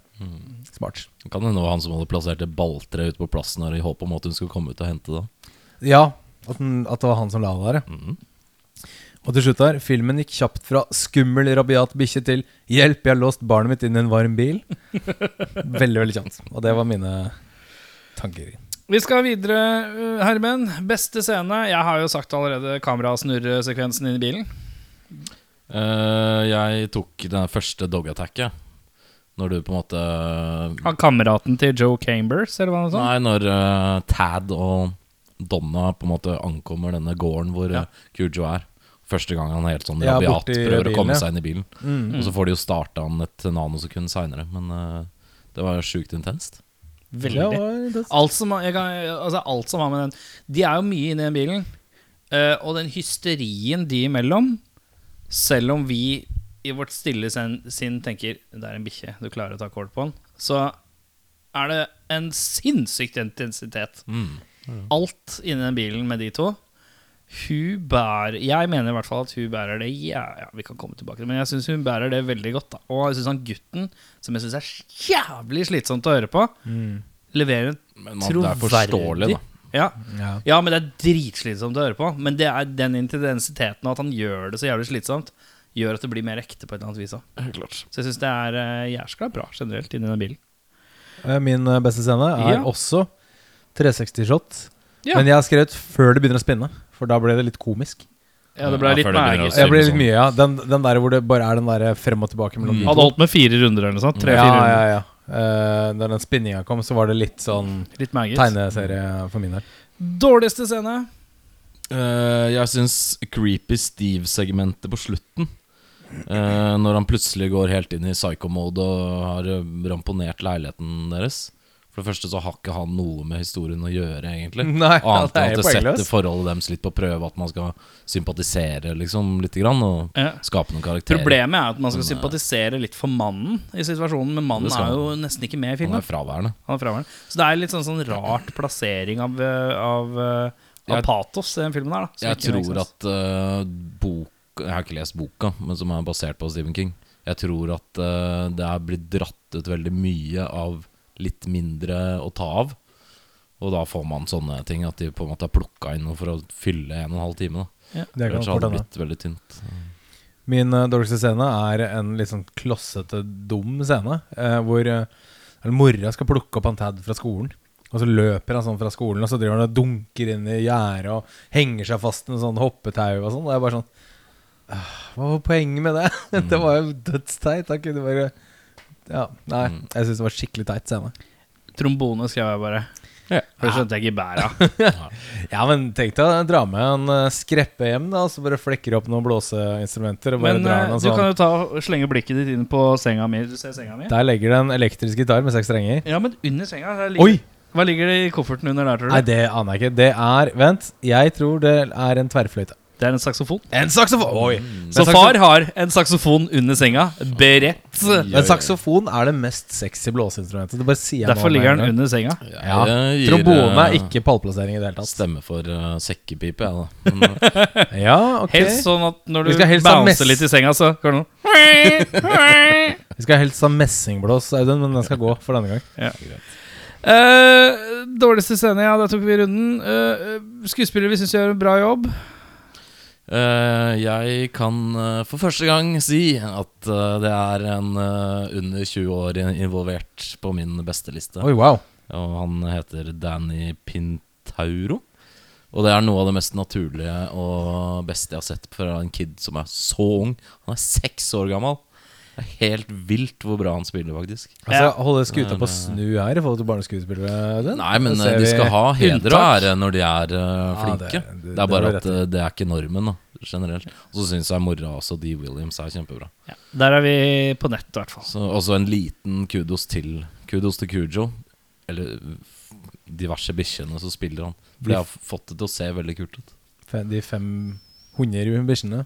Smart.
Kan hende det var han som hadde plassert det balltreet ute på plassen her i håp om at hun skulle komme ut og hente det.
Ja, at, den, at det var han som la det der. ja.
Mm.
Mhm.
Og til slutt her, filmen gikk kjapt fra skummel, rabiat bikkje til 'hjelp, jeg har låst barnet mitt inn i en varm
[laughs]
bil'. Veldig, veldig kjapt. Og det var mine tanker.
Vi skal videre, uh, Hermen. Beste scene. Jeg har jo sagt allerede kamerasnurresekvensen inn i bilen.
Eh, jeg tok det første dog-attacket. Når du på en måte
Av kameraten til Joe Chambers, eller hva sånn? det
Sånn.
var.
Nei, når eh, Tad og Donna på en måte ankommer denne gården hvor
Ja.
ja. Kujo er. Første gang han er helt sånn
Ja,
rabiat
borti
prøver
bilen,
å komme
ja. Mm.
seg inn i bilen. Og så får de jo starta han et nanosekund seinere, men eh, det var jo sjukt intenst.
Veldig. Alt som, har- jeg kan, altså alt som har med den De er jo mye inni den bilen. eh, og den hysterien de imellom, selv om vi i vårt stille sen, sinn tenker det er en bikkje, du klarer å ta kål på den, så er det en sinnssykt intensitet.
Mm.
Alt inni den bilen med de to. Hun bærer Jeg mener i hvert fall at hun bærer det ja, ja, vi kan komme tilbake til det, Men jeg syns hun bærer det veldig godt. Da. Og jeg syns han gutten, som jeg syns er jævlig slitsomt å høre på, leverer en
Men man, det er forståelig, da.
ja.
Ja.
ja, men det er dritslitsomt å høre på. Men det er den intensiteten og at han gjør det så jævlig slitsomt, gjør at det blir mer ekte på et eller annet vis. da. Så jeg syns det er uh, jæskla bra generelt inni den bilen.
Eh, Min eh, beste scene er
Ja.
også 360-shot.
Ja.
Men jeg har skrevet før det begynner å spinne, for da ble det litt komisk.
Ja, det ble
Ja,
litt
før det
mer
begynner å
Jeg
Jeg ble
Sånn.
litt mye, ja. Den, den der hvor det bare er den der frem og tilbake mellom de
Hadde holdt med fire runder eller noe sånt. Mm. Tre,
ja,
fire runder.
ja, ja. Eh, når den spinninga kom, så var det litt sånn
Litt maggot.
tegneserie for min del.
Dårligste scene?
Eh, jeg syns Creepy Steve-segmentet på slutten eh, Når han plutselig går helt inn i psycho-mode og har eh, ramponert leiligheten deres. For det første så har ikke han noe med historien å gjøre, egentlig.
[laughs] Nei,
Annet
det
enn
er
at det
poengløst.
setter forholdet deres litt på prøve, at man skal sympatisere liksom lite grann. Og
Ja.
skape noen karakterer.
Problemet er at man skal sympatisere litt for mannen i situasjonen, men mannen
Det skal
er jo nesten ikke med i
Han
filmen.
er fraværende.
Han er fraværende. Så det er litt sånn, sånn rart plassering av, eh, av, eh, av
Jeg-
patos i den filmen her. Da, som
Jeg
ikke makes
tror
sense.
at eh, bok Jeg har ikke lest boka, men som er basert på Stephen King. Jeg tror at eh, det er blitt dratt ut veldig mye av litt mindre å ta av. Og da får man sånne ting, at de på en måte har plukka inn noe for å fylle en og en halv time. Da.
Det kan
Ellers hadde det
fort hende.
blitt veldig tynt.
Min eh, dårligste scene er en litt sånn klossete, dum scene. eh, hvor eh, eller mora skal plukke opp han Tad fra skolen. Og så løper han sånn fra skolen, og så driver han og dunker inn i gjerdet og henger seg fast i en sånn hoppetau og sånn. Og jeg bare sånn «Ah, Hva var poenget med det? det [laughs] var jo dødsteit. Han kunne bare Ja, nei.
Mm.
Jeg syns det var skikkelig teit scene.
Trombone skrev jeg bare.
Ja.
For det skjønte jeg ikke bæra. [laughs]
Ja, men tenk deg å dra med en eh, skreppe hjem, da, og så bare flekker opp noen blåseinstrumenter og bare
Men
drar
eh,
noen
du kan
sånn.
jo ta og slenge blikket ditt inn på senga mi. Du ser senga mi?
Der legger det en elektrisk gitar med seks strenger.
Ja, men under senga der ligger,
Oi!
Hva ligger det i kofferten under der, tror du?
Nei, det aner jeg ikke. Det er Vent, jeg tror det er en tverrfløyte.
Det er en saksofon.
En saksofon! Oi.
Mm.
Så far har en saksofon under senga. Beredt.
Men saksofon er det mest sexy blåseinstrumentet. Det bare sier jeg
Derfor
nå med
ligger
en
den
gang.
under senga.
Ja.
Jeg gir,
Trombone er
eh,
ikke pallplassering i det hele tatt.
Stemme for eh, sekkepipe, jeg, da. Men, [laughs] eh,
Ja, ok
Helst sånn at når
Vi
du
skal helst ha mess.
bouncer litt i senga, så kan du
Vi skal helst ha messingblås, Audun, men den skal gå for denne gang.
[laughs] Eh, Dårligste scene, ja. Da tok vi runden. Eh, skuespillere vi syns gjør en bra jobb.
eh, jeg kan eh, for første gang si at eh, det er en eh, under 20 år in- involvert på min besteliste.
Oi, wow.
Og han heter Danny Pintauro. Og det er noe av det mest naturlige og beste jeg har sett fra en kid som er så ung. Han er seks år gammel. Det er helt vilt hvor bra han spiller, faktisk.
Altså, Holde skuta
Nei,
på
nei.
snu her i forhold til barneskuespillere, Audun?
Nei, men
Da ser
eh, de
vi-
skal ha heder og
unntak.
ære når de er eh,
Ja, det-
flinke.
det- det
det, er bare
var
at eh, det er ikke normen, da, generelt. Og så syns jeg mora også, Dee Williams, er kjempebra.
Der er vi på nett, i hvert fall.
Så også en liten kudos til Kudos til Kujo. Eller f- diverse bikkjene som spiller han. For jeg har f- fått det til å se veldig kult ut.
Fe- De 500
[laughs]
bikkjene.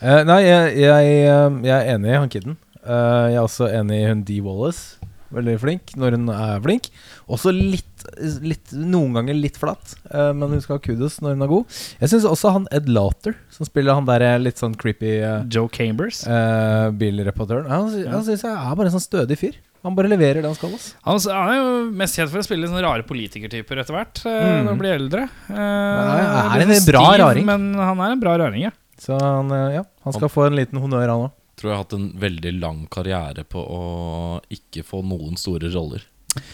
Eh, nei, jeg, jeg, eh, jeg er enig i han kiden. Eh, jeg er også enig i hun Dee Wallace. Veldig flink når hun er flink. Også litt, litt noen ganger litt flatt, eh, men hun skal ha kudos når hun er god. Jeg syns også han Ed Lauter, som spiller han der eh, litt sånn creepy eh,
Joe Chambers.
eh, bilreparatøren, han, sy- han syns jeg er bare en sånn stødig fyr. Han bare leverer det han skal. Ass.
Han s- han er jo mest kjent for å spille sånne rare politikertyper etter hvert, eh, når han blir eldre. Eh,
han Mm. er
litt sånn
en bra raring.
Men han er en bra raring, ja.
Så han, eh, ja, han skal få en liten honnør, han òg.
Tror jeg har hatt en veldig lang karriere på å ikke få noen store roller.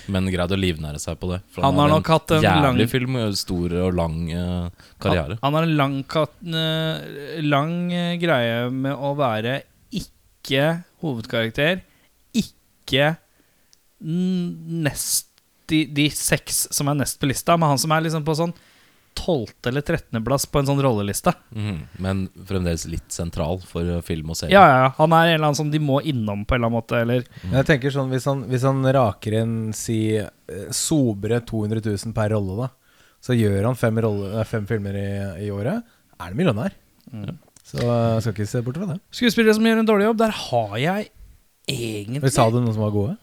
Men greid å livnære seg på det. For
Han har
hadde
nok hatt en
jævlig
lang-
film, stor og lang eh, karriere.
Han, han har en lang, kat, eh, lang eh, greie med å være ikke hovedkarakter, ikke n- nest de, de seks som er nest på lista, men han som er liksom på sånn 12. eller 13. plass på en sånn rolleliste.
Mhm. Men fremdeles litt sentral for eh, film og serie.
Ja, ja, ja. Han er en eller annen som de må innom på en eller annen måte, eller
Men Jeg tenker sånn, hvis han, hvis han raker inn si eh, sobre 200 000 per rolle, da, så gjør han fem, rolle, eh, fem filmer i, i året, er det millionær.
Mm.
Så eh, skal ikke se bort fra det.
Skuespillere som gjør en dårlig jobb, der har jeg egentlig
Men sa du noen som var gode?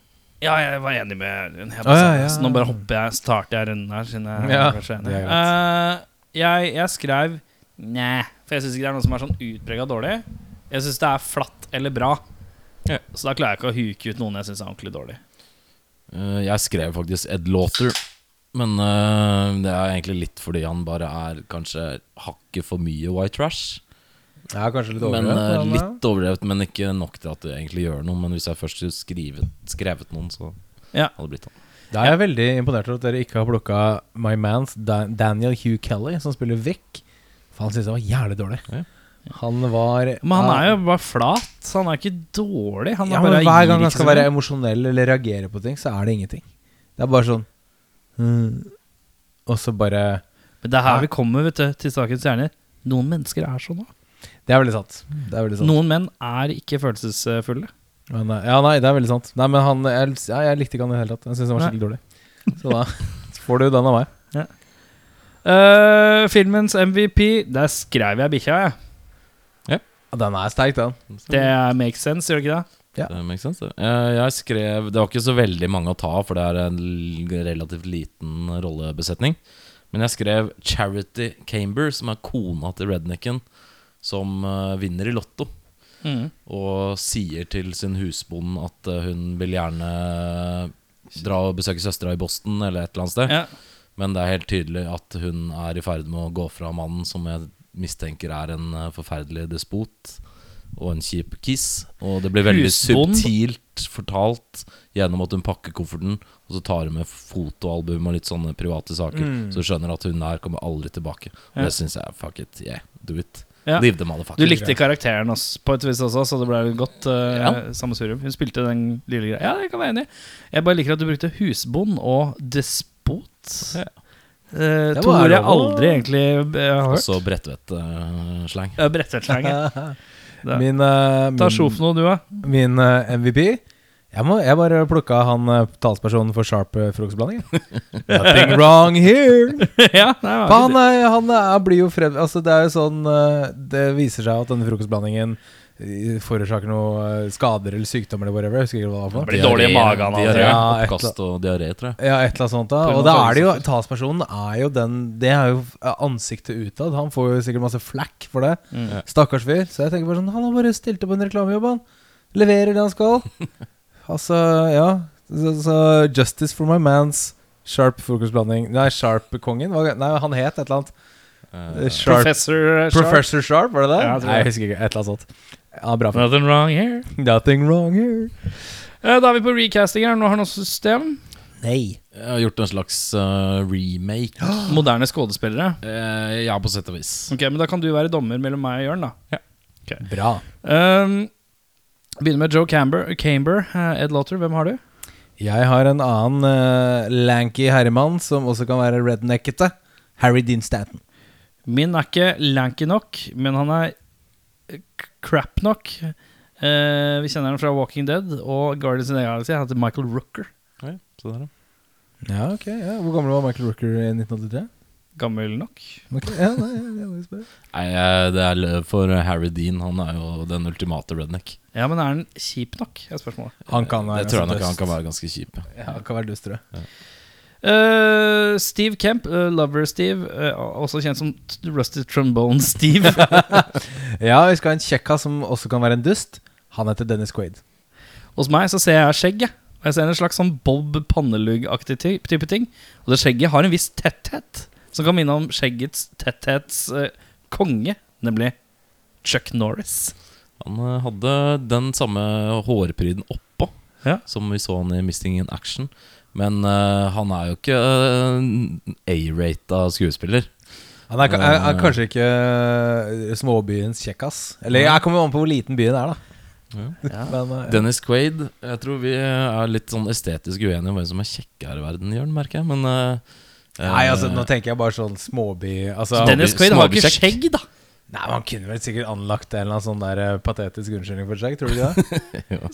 Ja, jeg var enig med Erlend. Jeg
Å,
bare,
ja, ja.
Så nå bare hopper jeg, starter jeg runden her, siden jeg
Ja,
var så enig.
det er
Eh, jeg, jeg skrev Næ, for jeg syns ikke det er noe som er sånn utprega dårlig. Jeg syns det er flatt eller bra.
Ja.
Så da klarer jeg ikke å huke ut noen jeg syns er ordentlig dårlig.
Eh, jeg skrev faktisk Ed Laughter, men eh, det er egentlig litt fordi han bare er kanskje hakket for mye white trash.
Ja, kanskje litt
Men,
overdrevet,
eh,
men, ja.
litt overdrevet, men ikke nok til at det egentlig gjør noe. Men hvis jeg først skulle skrivet, skrevet noen, så
Ja.
hadde det blitt han.
Da er jeg veldig imponert over at dere ikke har plukka My Mans da Daniel Hugh Kelly, som spiller Vic. For han syntes jeg var jævlig dårlig.
Ja.
Han var
Men han er jo bare flat. så Han er ikke dårlig. Han er
ja,
bare
men Hver
gir
gang
ikke
han skal
så mye.
være emosjonell eller reagere på ting, så er det ingenting. Det er bare sånn mm, Og så bare
Men det er her vi kommer vet du, til sakens kjerne. Noen mennesker er sånn. da.
Det er veldig sant. Det er veldig sant.
Noen menn er ikke følelsesfulle.
Men, eh, ja, nei, det er veldig sant. Nei, men han Jeg, ja, jeg likte ikke han i det hele tatt. Jeg syns han var
Nei.
skikkelig dårlig. Så da [laughs] får du den av meg.
Eh, filmens MVP, der skrev jeg bikkja, jeg.
Ja, den er sterk, den.
Det
Mm.
makes sense, gjør det ikke det?
Det makes sense, det. Eh, Jeg skrev Det var ikke så veldig mange å ta av, for det er en l- relativt liten rollebesetning. Men jeg skrev Charity Camber, som er kona til rednecken, som eh, vinner i Lotto. Mm. Og sier til sin husbond at eh, hun vil gjerne eh, dra og besøke søstera i Boston eller et eller annet sted.
Ja.
Men det er helt tydelig at hun er i ferd med å gå fra mannen som jeg mistenker er en eh, forferdelig despot og en kjip kiss. Og det blir veldig
Husbond.
subtilt fortalt gjennom at hun pakker kofferten, og så tar hun med fotoalbum og litt sånne private saker. Så du skjønner at hun der kommer aldri tilbake. Og
Mm. Ja.
det syns jeg fuck it. Yeah, do it.
Ja.
Leave the
Du
motherfucker.
likte karakteren også, på et vis også, så det ble et godt uh,
Ja.
sammensurium. Hun spilte den lille greia. Ja, det kan jeg være enig i. Jeg bare liker at du brukte husbond og despot.
Ja.
Eh,
Det
to
var
ord jeg
lov å- Altså-
aldri egentlig eh, har hørt.
Også Bredtvet-slang.
Uh,
[laughs]
Brettetslenge.
Min,
Ta
eh, min, [laughs]
sjofno, du, da.
min eh, MVP Jeg, må, jeg bare plukka han eh, talspersonen for Sharp eh, frokostblanding. jeg. Nothing wrong here!
ja, nei, det var
Han,
ikke
er, han er, blir jo frem... Altså, det er jo sånn eh, Det viser seg at denne frokostblandingen eh, forårsaker noe eh, skader eller sykdommer eller whatever. Jeg husker ikke hva det var for noe.
Blir dårlig i magen av
Diaré,
det.
Ja, et
oppkast og diaré, tror jeg.
Ja, et eller annet sånt da
På en
Og
måte
da
er
er det
det
jo Talspersonen er jo den Det er jo ansiktet utad. Han får jo sikkert masse flack for det.
Mm.
Stakkars fyr. Så jeg tenker bare sånn Han har bare stilt opp en reklamejobb, han. Leverer det
[laughs]
han skal. altså, ja. Så, så Justice for my mans. Sharp frokostblanding Nei, Sharp-kongen? Hva- Nei, han het et eller annet.
Eh,
Sharp
Professor Sharp.
Professor Sharp, var det det?
Ja, jeg tror
Nei, jeg
det.
husker ikke. Et eller annet sånt. Ja, bra for
Nothing wrong here.
Nothing wrong here.
Eh, Da er vi på recasting her. Nå har han også system.
[gasps] Nei.
Jeg har gjort en slags eh, remake.
Moderne skuespillere.
Eh, ja, på sett og vis.
Ok, Men da kan du være dommer mellom meg og Jørn, da.
Bra.
Um, begynner med Joe Camber, Camber eh, Ed Lauter. Hvem har du?
Jeg har en annen eh, lanky herremann som også kan være redneckete. Harry Dean Stanton.
Min er ikke lanky nok, men han er k- crap nok. Eh, vi kjenner han fra Walking Dead og Guardians of the Galaxy. Han heter Michael Rooker.
Oi, se der, ja.
Ja, ok. Ja. Hvor gammel var Michael Rooker i 1983?
Gammel nok.
Ok, ja, nei, jeg- jeg bare spør.
Nei, eh, det er løv for Harry Dean. Han er jo den ultimate redneck.
Ja, men er han kjip nok? Er spørsmålet.
Han kan være
det tror jeg nok
dust.
han kan være ganske kjip. ja.
Ja, han kan være dust, tror jeg.
Eh, Steve Kemp, eh, Lover Steve, eh, også kjent som t- Rusty Trombone Steve.
Ja, vi skal ha en kjekka som også kan være en dust. Han heter Dennis Quaid.
Hos meg så ser jeg skjegg. jeg. Og Jeg ser en slags sånn Bob Pannelugg-aktig ty- type ting. Og det skjegget har en viss tetthet som kan minne om skjeggets tetthets eh, konge, nemlig Chuck Norris.
Han eh, hadde den samme hårpryden oppå
Ja.
som vi så han i Misting in Action. Men eh, han er jo ikke eh, A-rata skuespiller.
Han er, ka- er,
Mm.
er kanskje ikke eh, småbyens kjekkas. Eller jeg kommer an på hvor liten byen er, da. [laughs] Men, eh,
Dennis Quaid Jeg tror vi er litt sånn estetisk uenige om hvem som er kjekk her i verden, Jørn, merker jeg. Men eh,
Nei, altså,
eh,
nå tenker jeg bare sånn småby altså,
Dennis Quaid har ikke
småbekjekk.
skjegg, da.
Nei, men Han kunne vel sikkert anlagt en eller annen sånn der eh, patetisk unnskyldning for seg, tror du ikke det?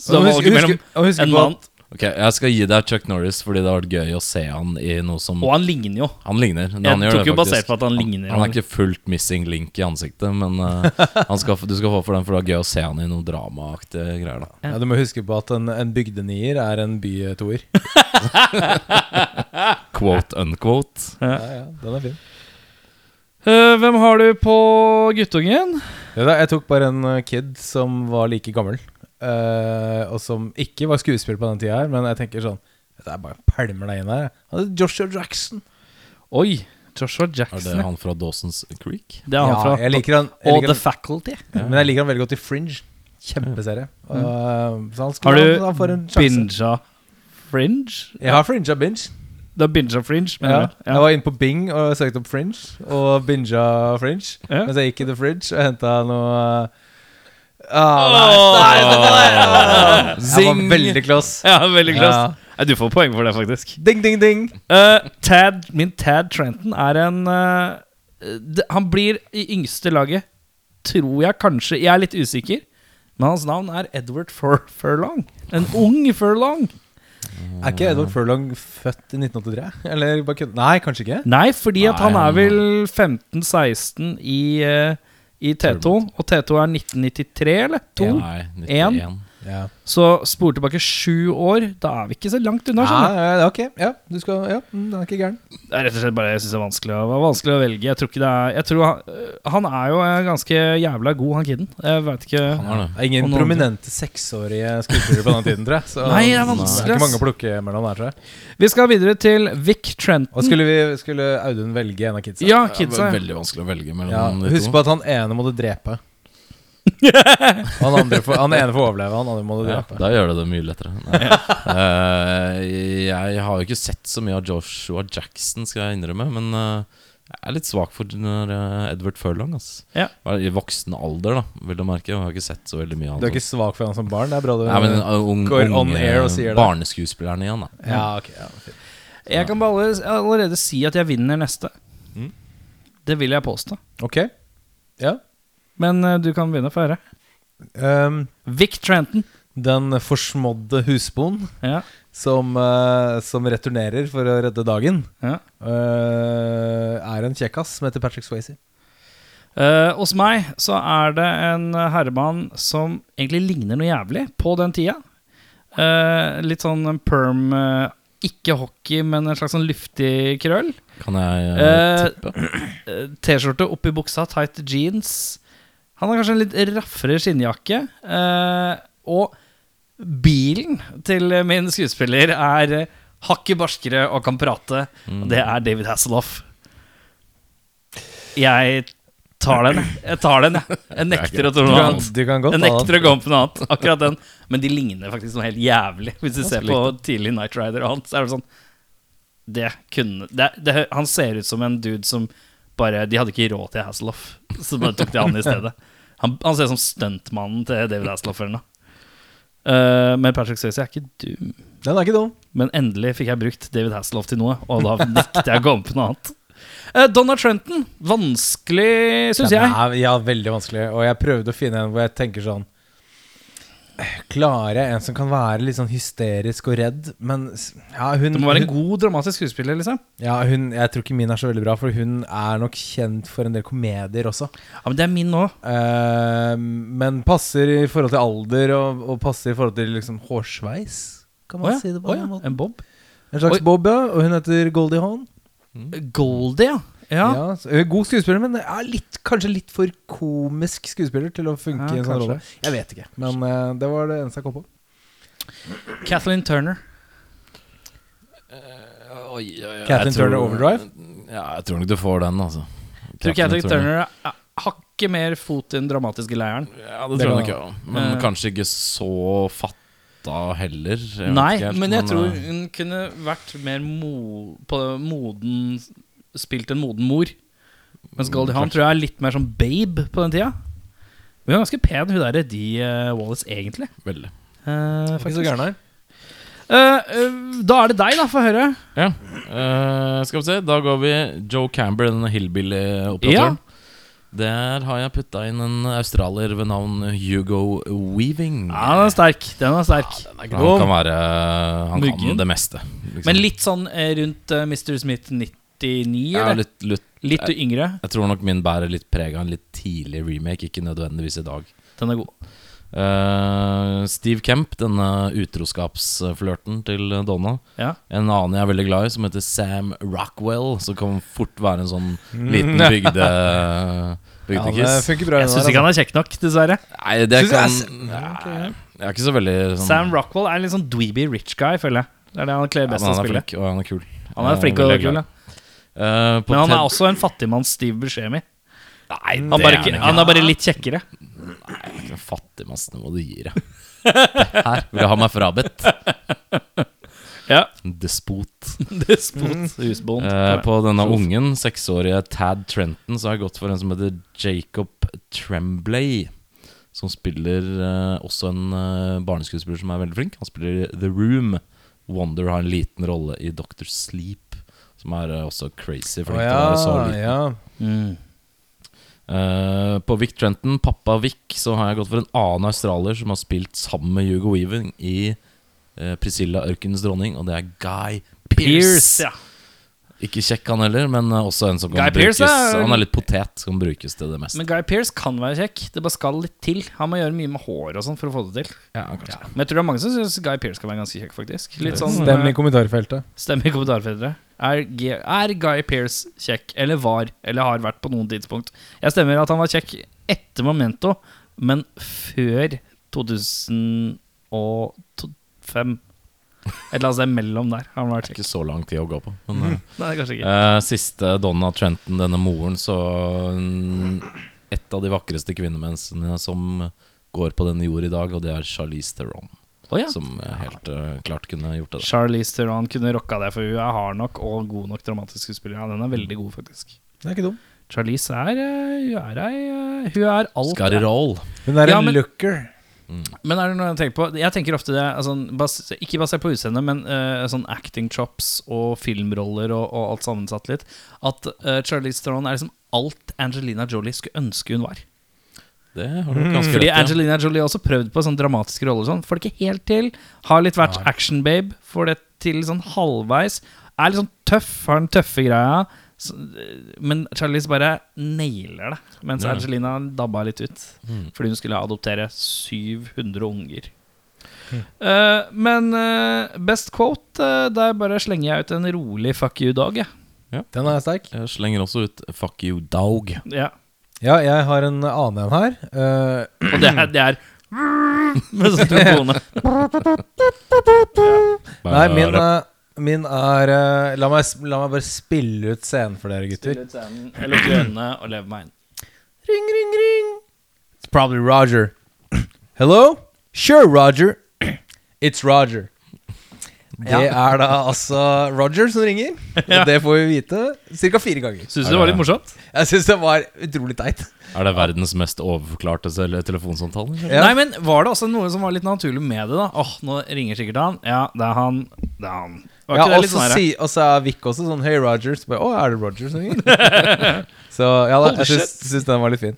[laughs] Så det var valget mellom en mann
Ok, Jeg skal gi deg Chuck Norris fordi det har vært gøy å se han i noe som
Og han ligner jo.
Han ligner. men
Jeg
han gjør
tok
det
jo
faktisk.
basert på at han ligner.
Han er ikke fullt missing link i ansiktet, men eh,
[laughs]
han skal, f- du skal få for den, for det er gøy å se han i noe dramaaktige greier. da
Ja, Du må huske på at en, en bygdenier er en bytoer.
Quote unquote.
Ja, ja, den er fin.
Eh, hvem har du på guttungen?
Ja, da, jeg tok bare en eh, kid som var like gammel, eh, og som ikke var skuespiller på den tida her, men jeg tenker sånn Jeg bare pælmer deg inn her. jeg. Han heter Joshua Jackson.
Oi, Joshua
Er
Jackson.
det han fra Dawson's Creek?
Det er han
ja,
fra
jeg liker han, jeg
Og
liker
The
han,
Faculty.
Men jeg liker han veldig godt i Fringe. Kjempeserie. Og, eh, så han
Har
skulle, han, han får
du
en sjanse.
binga Fringe?
Jeg har fringa binge.
Du har binga Fringe,
Ja.
mener du?
Jeg var inne på Bing og søkte opp Fringe, og binga Fringe.
Ja.
Mens jeg gikk i The Fridge og henta noe eh, ah, nei, nei, nei, nei, [laughs] nei. Jeg var
Zing.
veldig close.
[laughs] Ja, veldig close.
Ja.
Nei, Du får poeng for det, faktisk.
Ding, ding, ding.
Eh, Tad, min Tad Trenton er en eh, d- Han blir i yngste laget, tror jeg kanskje. Jeg er litt usikker. Men hans navn er Edward Fur Furlong. En ung Furlong.
Er ikke Edward Furlong født i 1983? Eller bare kødd? Nei, kanskje ikke.
Nei, fordi at
Nei,
han er
han-
vel 15-16 i, eh, i T2. Og T2 er 1993, eller? To?
Nei, 91.
Ja.
Så spor tilbake sju år. Da er vi ikke så langt unna. skjønner du.
sånn, ja, Ah, ok, ja, du skal, ja, mm, den er ikke gæren.
Det er rett og slett bare jeg synes det er vanskelig, å- det er vanskelig å velge. Jeg tror ikke det er jeg tror han, øh, han er jo eh, ganske jævla god, han kiden. Jeg veit ikke
Han er det.
Det er ingen
Og noen-
prominente seksårige skuespillere på den tiden, tror jeg. Så
Nei, det er
det
vanskelig,
er ikke
ass.
mange å plukke mellom der, tror jeg.
Vi skal videre til Vic
Og
Trenton.
skulle, vi, skulle Audun velge en av kidsa?
Ja,
Det
kidsa.
var veldig vanskelig å velge mellom
Ja,
de
husk
to.
på at han ene måtte drepe. Og han, andre får, han ene får overleve, han andre måtte
Ja,
drepe.
da gjør det det mye lettere. Nei. Eh, jeg har jo ikke sett så mye av Joshua Jackson, skal jeg innrømme. Men eh, jeg er litt svak for den der, eh, Edward Furlong. ass.
Ja.
Bare I voksen alder, da, vil du merke. Jeg har ikke sett så veldig mye av
Du er
han.
ikke svak for han som barn? Det er bra du
Nei, men uh, ung,
går
unge
on air og sier det.
barneskuespilleren igjen, da.
Ja, ok ja, fint.
Jeg kan bare allerede, allerede si at jeg vinner neste.
Mm.
Det vil jeg påstå.
Ok. Ja.
Men øh, du kan begynne å få høre.
ehm,
Vic Trenton.
Den forsmådde husboen
Ja,
som, eh, som returnerer for å redde dagen,
ja.
eh, er en kjekkas som heter Patrick Swayze.
Eh, hos meg så er det en eh, herremann som egentlig ligner noe jævlig på den tida. Eh, litt sånn perm eh, Ikke hockey, men en slags sånn luftig krøll.
Kan jeg eh,
Eh,
tippe?
Eh, T-skjorte oppi buksa, tight jeans. Han har kanskje en litt raffere skinnjakke. eh, og bilen til min skuespiller er eh, hakket barskere og kan prate. Og det er David Hasselhoff. Jeg tar den, jeg. jeg. tar den Jeg Jeg nekter å tro
Du
noe
kan,
annet.
du kan godt
Jeg
ta
nekter
den.
å gå om på noe annet. Akkurat den. Men de ligner faktisk noe helt jævlig. Hvis du ser på tidlig Night Rider og annet, så er det sånn Det kunne det, det, Han ser ut som en dude som bare De hadde ikke råd til Hasselhoff, så bare tok de han i stedet. Han, han ser ut som stuntmannen til David Hasselhoff eller noe. Eh, men Patrick Swayze er ikke dum.
Den er ikke dum.
Men endelig fikk jeg brukt David Hasselhoff til noe, og da nekter jeg å gå om på noe annet. Eh, Donna Trenton. Vanskelig, syns
Den
jeg.
er, ja, veldig vanskelig. Og jeg prøvde å finne en hvor jeg tenker sånn Klarer jeg en som kan være litt sånn hysterisk og redd, men s- ja, hun,
Det må være
hun-
en god dramatisk skuespiller, liksom.
ja, hun Jeg tror ikke min er så veldig bra, for hun er nok kjent for en del komedier også.
Ja, Men det er min òg.
Eh, men passer i forhold til alder, og, og passer i forhold til liksom hårsveis, kan man
Å ja,
si det på
å
den
ja,
måten.
En bob?
En slags
Oi.
bob, ja. Og hun heter Goldie Hawn.
Goldie, ja. ja.
Ja. så- eh, god skuespiller, men er litt, kanskje litt for komisk skuespiller til å funke
Ja,
i en sånn
kanskje.
rolle. Jeg vet ikke, men eh, det var det eneste jeg kom på.
Kathleen Turner.
Oi, oi, oi,
Catherine
jeg tror-
Turner Overdrive?
Ja, jeg tror nok du får den, altså.
Tror Kathleen
Turner.
Turner er hakket mer fot i den dramatiske leiren.
Ja, det
Det
tror
kan
jeg nok, ja. Men
Eh.
kanskje ikke så fatta heller. Jeg vet
Nei,
ikke helt,
men jeg tror
eh,
hun kunne vært mer mo på moden Spilt en moden mor. Mens
Mm,
Goldie Hawn tror jeg er litt mer sånn babe på den tida. Men hun er ganske pen, hun derre De eh, Wallace, egentlig.
Veldig.
Eh,
Ikke så
faktisk.
gæren her.
Eh, eh, da er det deg, da, få høre.
Ja. eh, skal vi se, da går vi Joe Camber, den hillbilly-operatøren. Der har jeg putta inn en australier ved navn Hugo Weaving.
Ja, den er sterk. Den er sterk.
Han kan være Han
Muggen.
kan det meste. liksom.
Men litt sånn eh, rundt eh, Mr. Smith 99,
ja,
eller?
litt, litt, eh,
Litt yngre.
Jeg tror nok min bærer litt preg av en litt tidlig remake, ikke nødvendigvis i dag.
Den er god.
Eh, Steve Kemp, denne utroskapsflørten til Donna.
Ja.
En annen jeg er veldig glad i, som heter Sam Rockwell, som kan fort være en sånn
[laughs]
liten bygde
Mm. Ja, det
bygdekiss.
funker bra.
Jeg syns ikke han er kjekk nok, dessverre.
Nei, det
Synes
kan
jeg
Nei, Jeg er ikke så veldig sånn
Sam Rockwell er en litt sånn dweeby rich guy, føler jeg. Det er det han kler
Ja, men
best å
han er
spille.
flink, og han er kul. Eh,
Han er flink og kul, ja. Men han er også en fattigmanns Steve Buscemi.
Nei,
Han,
Mm. det
bare,
er
ikke-
han ikke.
han er bare litt kjekkere.
Hvilken Fattigmassen, hva du gir deg. Det Her vil jeg ha meg frabedt.
[laughs] Ja,
Despot.
Despot. Husbond.
Eh,
Ja.
på denne ungen, seksårige Tad Trenton, så har jeg gått for en som heter Jacob Tremblay. Som spiller eh, også en eh, barneskuespiller som er veldig flink. Han spiller i The Room. Wonder har en liten rolle i Doctor Sleep, som er eh, også crazy flink
Å
til å være så
altså. ja,
liten.
ja.
Mm.
Eh, på Vic Trenton, pappa Vic, så har jeg gått for en annen australier som har spilt sammen med Hugo Weaving i eh, Priscilla Ørkenens dronning, og det er Guy
Pierce,
Pierce.
ja.
Ikke kjekk han heller, men eh, også en som kan
Guy
brukes
Pearce er-
Han er litt potet, som kan brukes til det meste.
Men Guy Pearce kan være kjekk. Det bare skal litt til. Han må gjøre mye med hår og sånn for å få det til.
Ja, kanskje.
Men jeg tror det er mange som syns Guy Pearce kan være ganske kjekk, faktisk. Litt sånn
Stem i
eh,
kommentarfeltet.
Stem i kommentarfeltet. Er, G- er Guy Pearce kjekk, eller var, eller har vært på noen tidspunkt? Jeg stemmer at han var kjekk etter Momento, men før 2005. Et eller annet sted mellom der har han vært kjekk.
Ikke så lang tid å gå på. Men, eh,
Nei, kanskje ikke.
eh, siste Donna Trenton, denne moren, så mm, Et av de vakreste kvinnemensene som går på denne jord i dag, og det er Charlize Theron.
Å ja.
Som eh, helt eh, klart kunne gjort det.
Charlize Theron kunne rocka det, for hun er hard nok og god nok dramatisk skuespiller. Ja, den er veldig god, faktisk.
Den er ikke dum.
Charlize er eh, Hun er ei eh, Hun er alt.
Scary Roll.
Hun er
Ja,
en
men-
looker.
Men er det noe jeg tenker på? Jeg tenker ofte det altså, bas Ikke basert på utseendet, men eh, sånn acting chops og filmroller og, og alt sammensatt litt. At eh, Charlize Theron er liksom alt Angelina Jolie skulle ønske hun var.
Det har du ganske
Fordi
rett i.
Angelina Jolie har også prøvd på sånn dramatiske roller. og Sånn. Får det ikke helt til. Har litt vært action-babe. Får det til sånn halvveis. Er litt sånn tøff, har den tøffe greia. Så, men Charlize bare nailer det. Mens
Ja.
Angelina dabba litt ut.
Mm.
Fordi hun skulle adoptere 700 unger. Eh, men eh, best quote, eh, der bare slenger jeg ut en rolig fuck you-dag, jeg.
Den er sterk.
Jeg slenger også ut 'fuck you, dog'.
Ja.
Ja, jeg har en annen en her. Eh, [clears throat]
Og det er, [laughs] det er med sånn trombone.
nei, min, eh, min er eh, la, meg, s- la meg bare spille ut scenen for dere, gutter.
sånn, Jeg lukker øynene og lever meg inn.
Ring, ring, ring. It's probably Roger. [clears throat] Hello? Sure, Roger. [clears throat] It's Roger. Det er da altså Roger som
[laughs]
ringer, og det får vi vite ca. fire ganger.
Syns du det var litt morsomt?
Jeg syns det var utrolig teit.
Er det verdens mest overforklarte sel- telefonsamtale? eller?
Ja.
Nei, men Var det også noe som var litt naturlig med det? da? Åh, Nå ringer sikkert han. Ja, det er han. Det er han. Var
Ja,
ikke det
og
litt sånn
så
her?
si, og så er Vic også sånn Hei, Roger. Så bare Å, er det Roger
[laughs]
som ringer? så ja, da,
Holy
jeg syns, syns den var litt fin.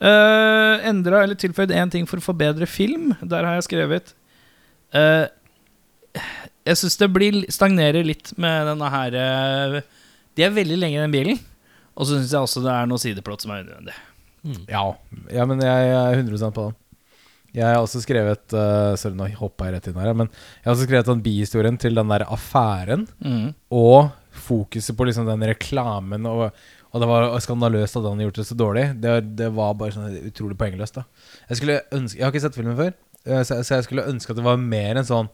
Eh, Endra eller tilføyd én ting for å forbedre film. Der har jeg skrevet eh, Jeg syns det blir stagnerer litt med denne her eh, De er veldig lenge i den bilen. Og så syns jeg også det er noe sideplott som er unødvendig.
Ja. ja, men jeg er 100 på den. Jeg har også skrevet eh, Sorry, nå hoppa jeg rett inn her, ja, men jeg har også skrevet den bihistorien til den der affæren. Og fokuset på liksom den reklamen, og, og det var skandaløst at han hadde gjort det så dårlig. Det, det var bare sånn utrolig poengløst. da Jeg skulle ønske Jeg har ikke sett filmen før, eh, så, så jeg skulle ønske at det var mer enn sånn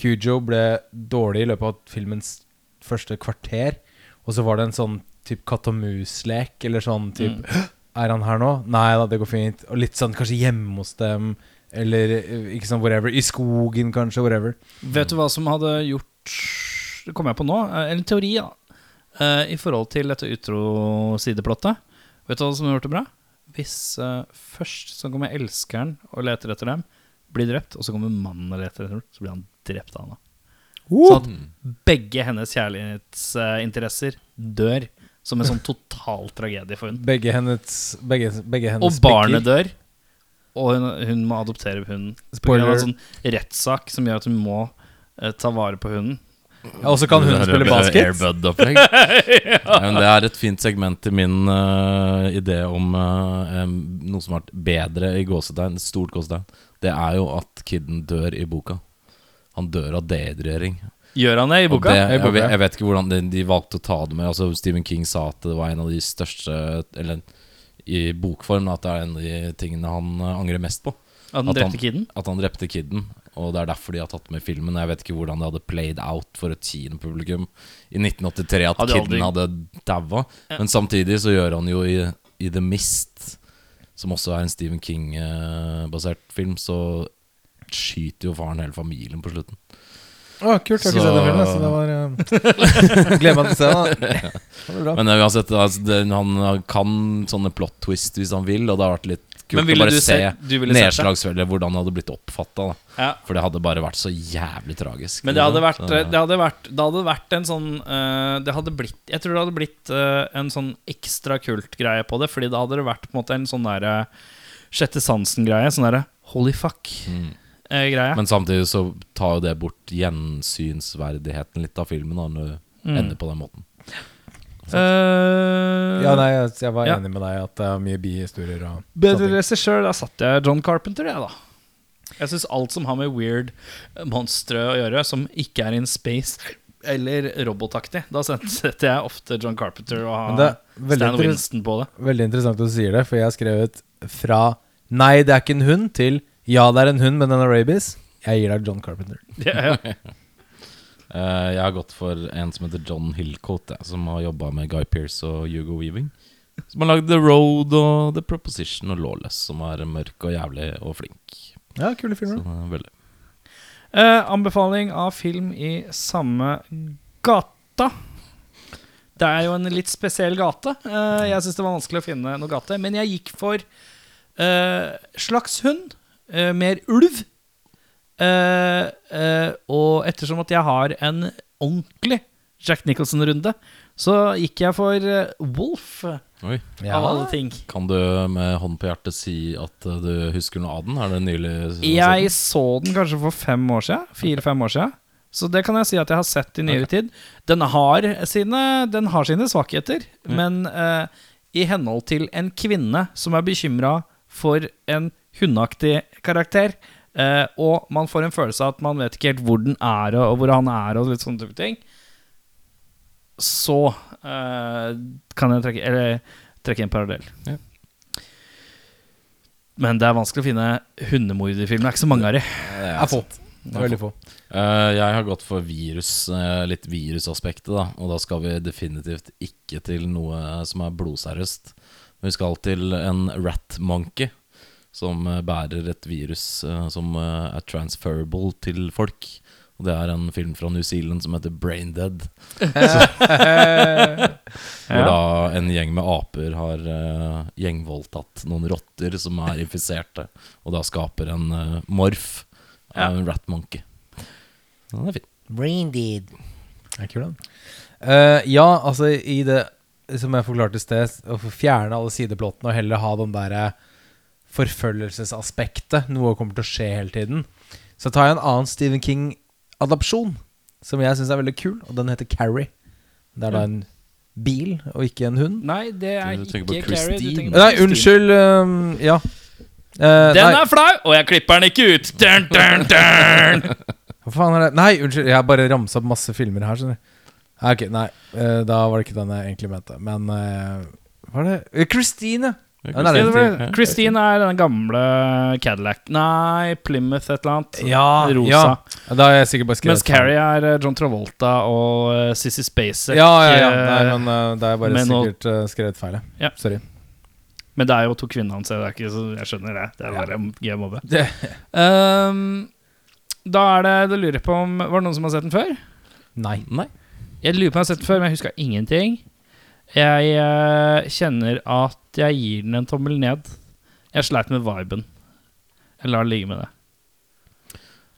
Cujo ble dårlig i løpet av filmens første kvarter, og så var det en sånn typ katt og mus-lek, eller sånn typ «Hå! Er han her nå? Nei da, det går fint. Og litt sånn kanskje hjemme hos dem, eller eh, ikke sånn whatever. I skogen, kanskje, whatever.
Vet du hva som hadde gjort Det kom jeg på nå. eh, En teori da Eh, i forhold til dette utro-sideplottet. Vet du hva som hadde gjort det bra? Hvis eh, først så kommer elskeren og leter etter dem, blir drept, og så kommer mannen og leter etter dem, så blir han drept av henne. Sånn at begge hennes kjærlighetsinteresser dør som en sånn total tragedie for hun
Begge hennes, begge, begge hennes
Og barnet dør, og hun, hun må adoptere hunden. På grunn av en
Spoiler.
sånn rettssak som gjør at hun må eh, ta vare på hunden.
Ja, Og så kan hun
Det er
spille
jo
basket.
Airbud-opplegg.
[laughs]
Nei, men Det er et fint segment til min eh, idé om eh, em, noe som har vært bedre i gåsetegn, stort gåsetegn. Det er jo at kidden dør i boka. Han dør av dehydrering.
Gjør han det i
Og
boka?
Det,
I boka,
jeg, vet-
ja.
jeg vet ikke hvordan de, de valgte å ta det med. Altså Stephen King sa at det var en av de største Eller i bokform da, at det er en av de tingene han eh, angrer mest på.
At den
At han-
drepte kiden?
At han drepte kidden, og det er derfor de har tatt med filmen. Jeg vet ikke hvordan det hadde played out for et kinopublikum i 1983 at
Hadde aldri-
kidden hadde daua. Men samtidig så gjør han jo i, i The Mist, som også er en Stephen King-basert film, så skyter jo faren hele familien på slutten.
Å, kult. Jeg har ikke
Så-
sett den filmen, så det var eh, [laughs] Gleder meg til å se den. da. Det var bra.
Men eh, uansett, altså, det, han kan sånne plot twist hvis han vil, og det har vært litt
Men
kult å
ville
bare
du
se
sett- du ville sett det?
nedslagsfeltet, hvordan det hadde blitt oppfatta.
Ja.
For det hadde bare vært så jævlig tragisk.
Men det hadde vært,
liksom. Så-
det hadde vært, det hadde vært en sånn eh, Det hadde blitt Jeg tror det hadde blitt eh, en sånn ekstra kult greie på det, fordi da hadde det vært på en måte en sånn derre sjette sansen-greie. Sånn derre holy eh,
Mm.
fuck-greie.
Men samtidig så tar jo det bort gjensynsverdigheten litt av filmen da, når
Mm.
du ender på den måten.
Eh,
Ja, nei, jeg, jeg var
Ja.
enig med deg at det er mye bihistorier og
Bedre
sånne ting.
regissør, da satt jeg John Carpenter, jeg, da. Jeg syns alt som har med weird eh, monstre å gjøre, som ikke er in space eller robotaktig, da setter jeg ofte John Carpenter og
Men det
har
er veldig
Stan
interes-
Winston på det. [laughs]
Veldig interessant at du sier det, for jeg har skrevet fra Nei, det er ikke en hund, til Ja, det er en hund, men den har rabies. Jeg gir deg John Carpenter.
Ja, ja.
Eh, jeg har gått for en som heter John Hillcoat, jeg, som har jobba med Guy Pearce og Hugo Weaving. Som har lagd The Road og The Proposition og Lawless, som er mørk og jævlig og flink.
Ja, kule
Så,
filmer.
eh, veldig.
Eh, anbefaling av film i samme gata. Det er jo en litt spesiell gate. Eh, jeg syns det var vanskelig å finne noe gate. Men jeg gikk for eh, slags hund, eh, mer ulv. Eh, eh, og ettersom at jeg har en ordentlig Jack Nicholson-runde, Så gikk jeg for eh, Wolf,
Oi.
av alle ting.
Kan du med hånd på hjertet si at eh, du husker noe av den? Er det sånn. nylig
Jeg så den kanskje for fem år siden. Fire-fem år siden. Så det kan jeg si at jeg har sett i nyere tid. Den har sine, den har sine svakheter, men eh, i henhold til en kvinne som er bekymra for en hundeaktig karakter, eh, og man får en følelse av at man vet ikke helt hvor den er, og hvor han er, og litt sånne type ting, så eh, kan jeg trekke, eller, trekke en parallell.
Ja.
Men det er vanskelig å finne hundemorderfilmer. Det er ikke så mange av de.
Det
Er få. Det er Veldig få.
Eh, jeg har gått for virus, eh, litt virusaspektet, da. Og da skal vi definitivt ikke til noe som er blodseriøst. Men vi skal til en rat monkey som eh, bærer et virus eh, som eh, er transferable til folk. Og det er en film fra New Zealand som heter Brain Dead.
Eh,
Hvor da en gjeng med aper har eh, gjengvoldtatt noen rotter som er infiserte, og da skaper en eh, morf av en rat monkey. Ja, Den er fin.
Brain dead.
Det er kul, den. Eh, ja, altså i det som jeg forklarte i sted, å få fjerne alle sideplottene og heller ha den der eh, forfølgelsesaspektet, noe kommer til å skje hele tiden, så tar jeg en annen Stephen King-adopsjon, som jeg syns er veldig kul, og den heter Carrie. Det er da en bil, og ikke en hund.
Nei, det er
Du
ikke
tenker på
Carrie. Du
Christine.
tenker på
Nei, unnskyld. eh, ja. Eh,
Den
nei,
er flau, og jeg klipper den ikke ut! Dun, dun,
[laughs]
dun.
hva faen er det? Nei, unnskyld. Jeg har bare ramsa opp masse filmer her, skjønner du. Ja, Ok, nei. eh, da var det ikke den jeg egentlig mente. Men eh, hva er det? Eh, Christine! Ja, den er
Christine,
litt-
var- Christine er den gamle Cadillac Nei, Plymouth et eller annet.
Ja,
Rosa.
ja. Da har jeg sikkert bare skrevet
Mens Carrie er eh, John Travolta og eh, Sissy Spacek.
Ja, ja, ja.
eh,
Nei, men uh, det er bare
men nå-
sikkert uh, skrevet feil. jeg.
Ja.
Sorry.
Men det er jo to kvinner hans, så det er ikke så jeg skjønner det. Det er bare gøy mobbe.
Det-
Ehm, da er det Da lurer jeg på om Var det noen som har sett den før?
Nei.
Nei.
Jeg lurer på om jeg har sett den før, men jeg huska ingenting. Jeg eh, kjenner at jeg gir den en tommel ned. Jeg sleit med viben. Jeg lar det ligge med det.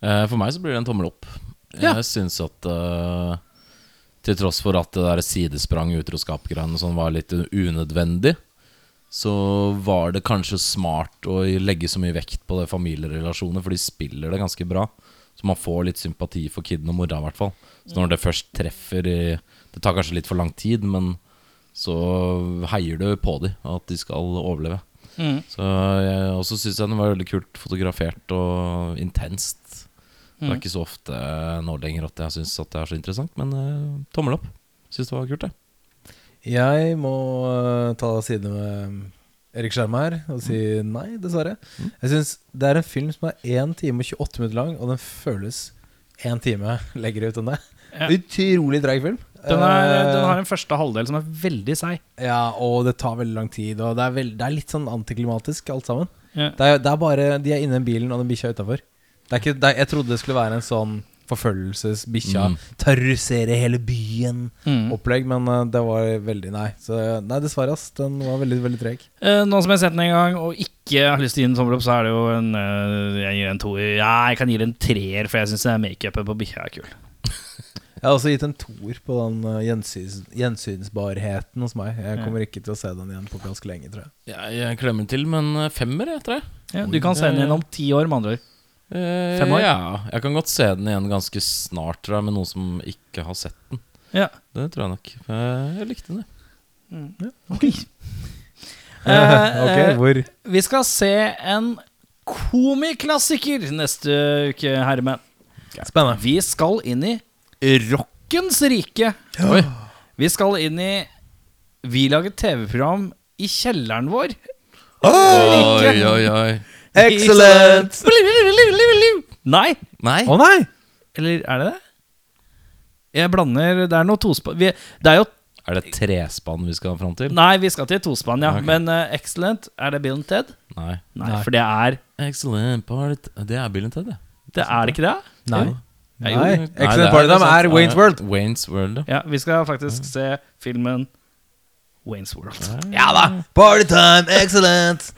Eh, for meg så blir det en tommel opp.
Ja.
Jeg syns at eh, til tross for at det der sidesprang utroskap-greiene sånn var litt unødvendig, så var det kanskje smart å legge så mye vekt på det familierelasjoner, for de spiller det ganske bra. Så man får litt sympati for kiden og mora, i hvert fall. Så når det først treffer i Det tar kanskje litt for lang tid, men så heier du på dem, at de skal overleve.
Mm.
Så jeg også syns jeg den var veldig kult fotografert og intenst. Det er ikke så ofte nå lenger at jeg syns at det er så interessant, men eh, tommel opp. Syns det var kult, det.
Jeg må uh, ta side med Erik Skjerm her og si nei, dessverre.
Mm.
Jeg syns det er en film som er 1 time og 28 minutter lang, og den føles 1 time [laughs] lenger ut enn det.
Ja.
Utrolig dreig film.
Den, er,
Eh,
den har en første halvdel som er veldig seig.
Ja, og det tar veldig lang tid, og det er, veld, det er litt sånn antiklimatisk alt sammen.
Ja.
Det er, det er bare De er inne i bilen, og den bikkja er utafor. Jeg trodde det skulle være en sånn forfølgelsesbikkja.
Mm.
Terrorisere hele
Mm.
byen-opplegg, men eh, det var veldig Nei, så, nei dessverre. ass Den var veldig veldig treg.
Eh, nå som jeg har sett den en gang og ikke har lyst til å gi den tommel opp, så er det jo en eh, Jeg gir en toer. Ja, jeg kan gi den en treer, for jeg syns makeupen på bikkja er kul.
Jeg har også gitt en toer på den eh, gjensyns, gjensynsbarheten hos meg. Jeg kommer ikke til å se den igjen på ganske lenge, tror jeg.
Jeg, jeg klemmer til med en femmer, jeg, tror jeg.
Ja, du kan se den igjen om ti år, med andre ord.
Eh,
Fem år?
Ja, jeg kan godt se den igjen ganske snart, tror jeg, med noen som ikke har sett den.
Ja.
Det tror jeg nok. Eh, Jeg likte den, jeg.
[laughs] Eh, eh,
[laughs] ok, hvor?
vi skal se en komiklassiker neste uke, herremenn.
Spennende.
Vi skal inn i rockens rike.
Oi.
Vi skal inn i Vi lager TV-program i kjelleren vår.
Oi, oi, oi.
Excellent!
Nei.
Nei.
Å nei!
Eller er det det? Jeg blander Det er noe tospann vi, Det er jo
Er det trespann vi skal fram til?
Nei, vi skal til tospann, ja.
Ok.
Men eh, Excellent, er det Bill and Ted?
Nei.
Nei, for det er
Excellent part Det er bilen til det.
Det er det ikke det?
Nei.
Ja,
Nei.
jo.
det
Excellent Party Time
sant.
er Wayne's World.
Wayne's World, ja.
Ja, vi skal faktisk se filmen Wayne's World.
Ja da! Party time, excellent!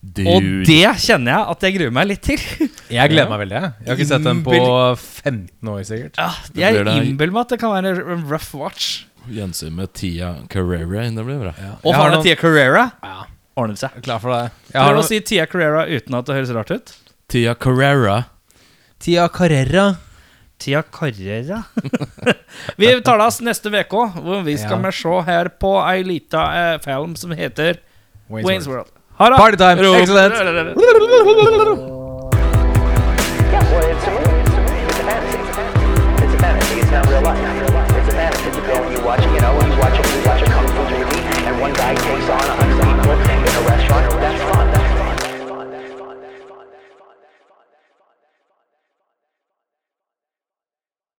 Og det kjenner jeg at jeg gruer meg litt til.
[laughs] Jeg gleder meg veldig. Jeg Jeg har ikke sett den på 15 år, sikkert.
Ja,
blir
jeg
det-
innbiller meg at det kan være en rough watch.
Gjensyn med Tia Carrera inn, det blir bra.
Og
har
faren
noen-
til Tia Carrera.
Ordnet seg.
Klar for det. Jeg har
Prøv å
noen...
si Tia Carrera uten at det høres rart ut.
Tia Carrera.
Tia Carrera.
Tia Carrera. [laughs] vi tales neste uke, hvor vi skal
Ja.
med se her på ei lita eh, film som heter
Wayne's
Wayne's World. Ha det!
Party time.
Ro. [laughs]
Excellent.
Yeah, well, it's a movie. It's a movie. It's a fantasy. It's a fantasy. It's not real life. It's a fantasy. You go and you watch, you know, you watch, you watch a kung fu movie, and one guy takes on a hundred,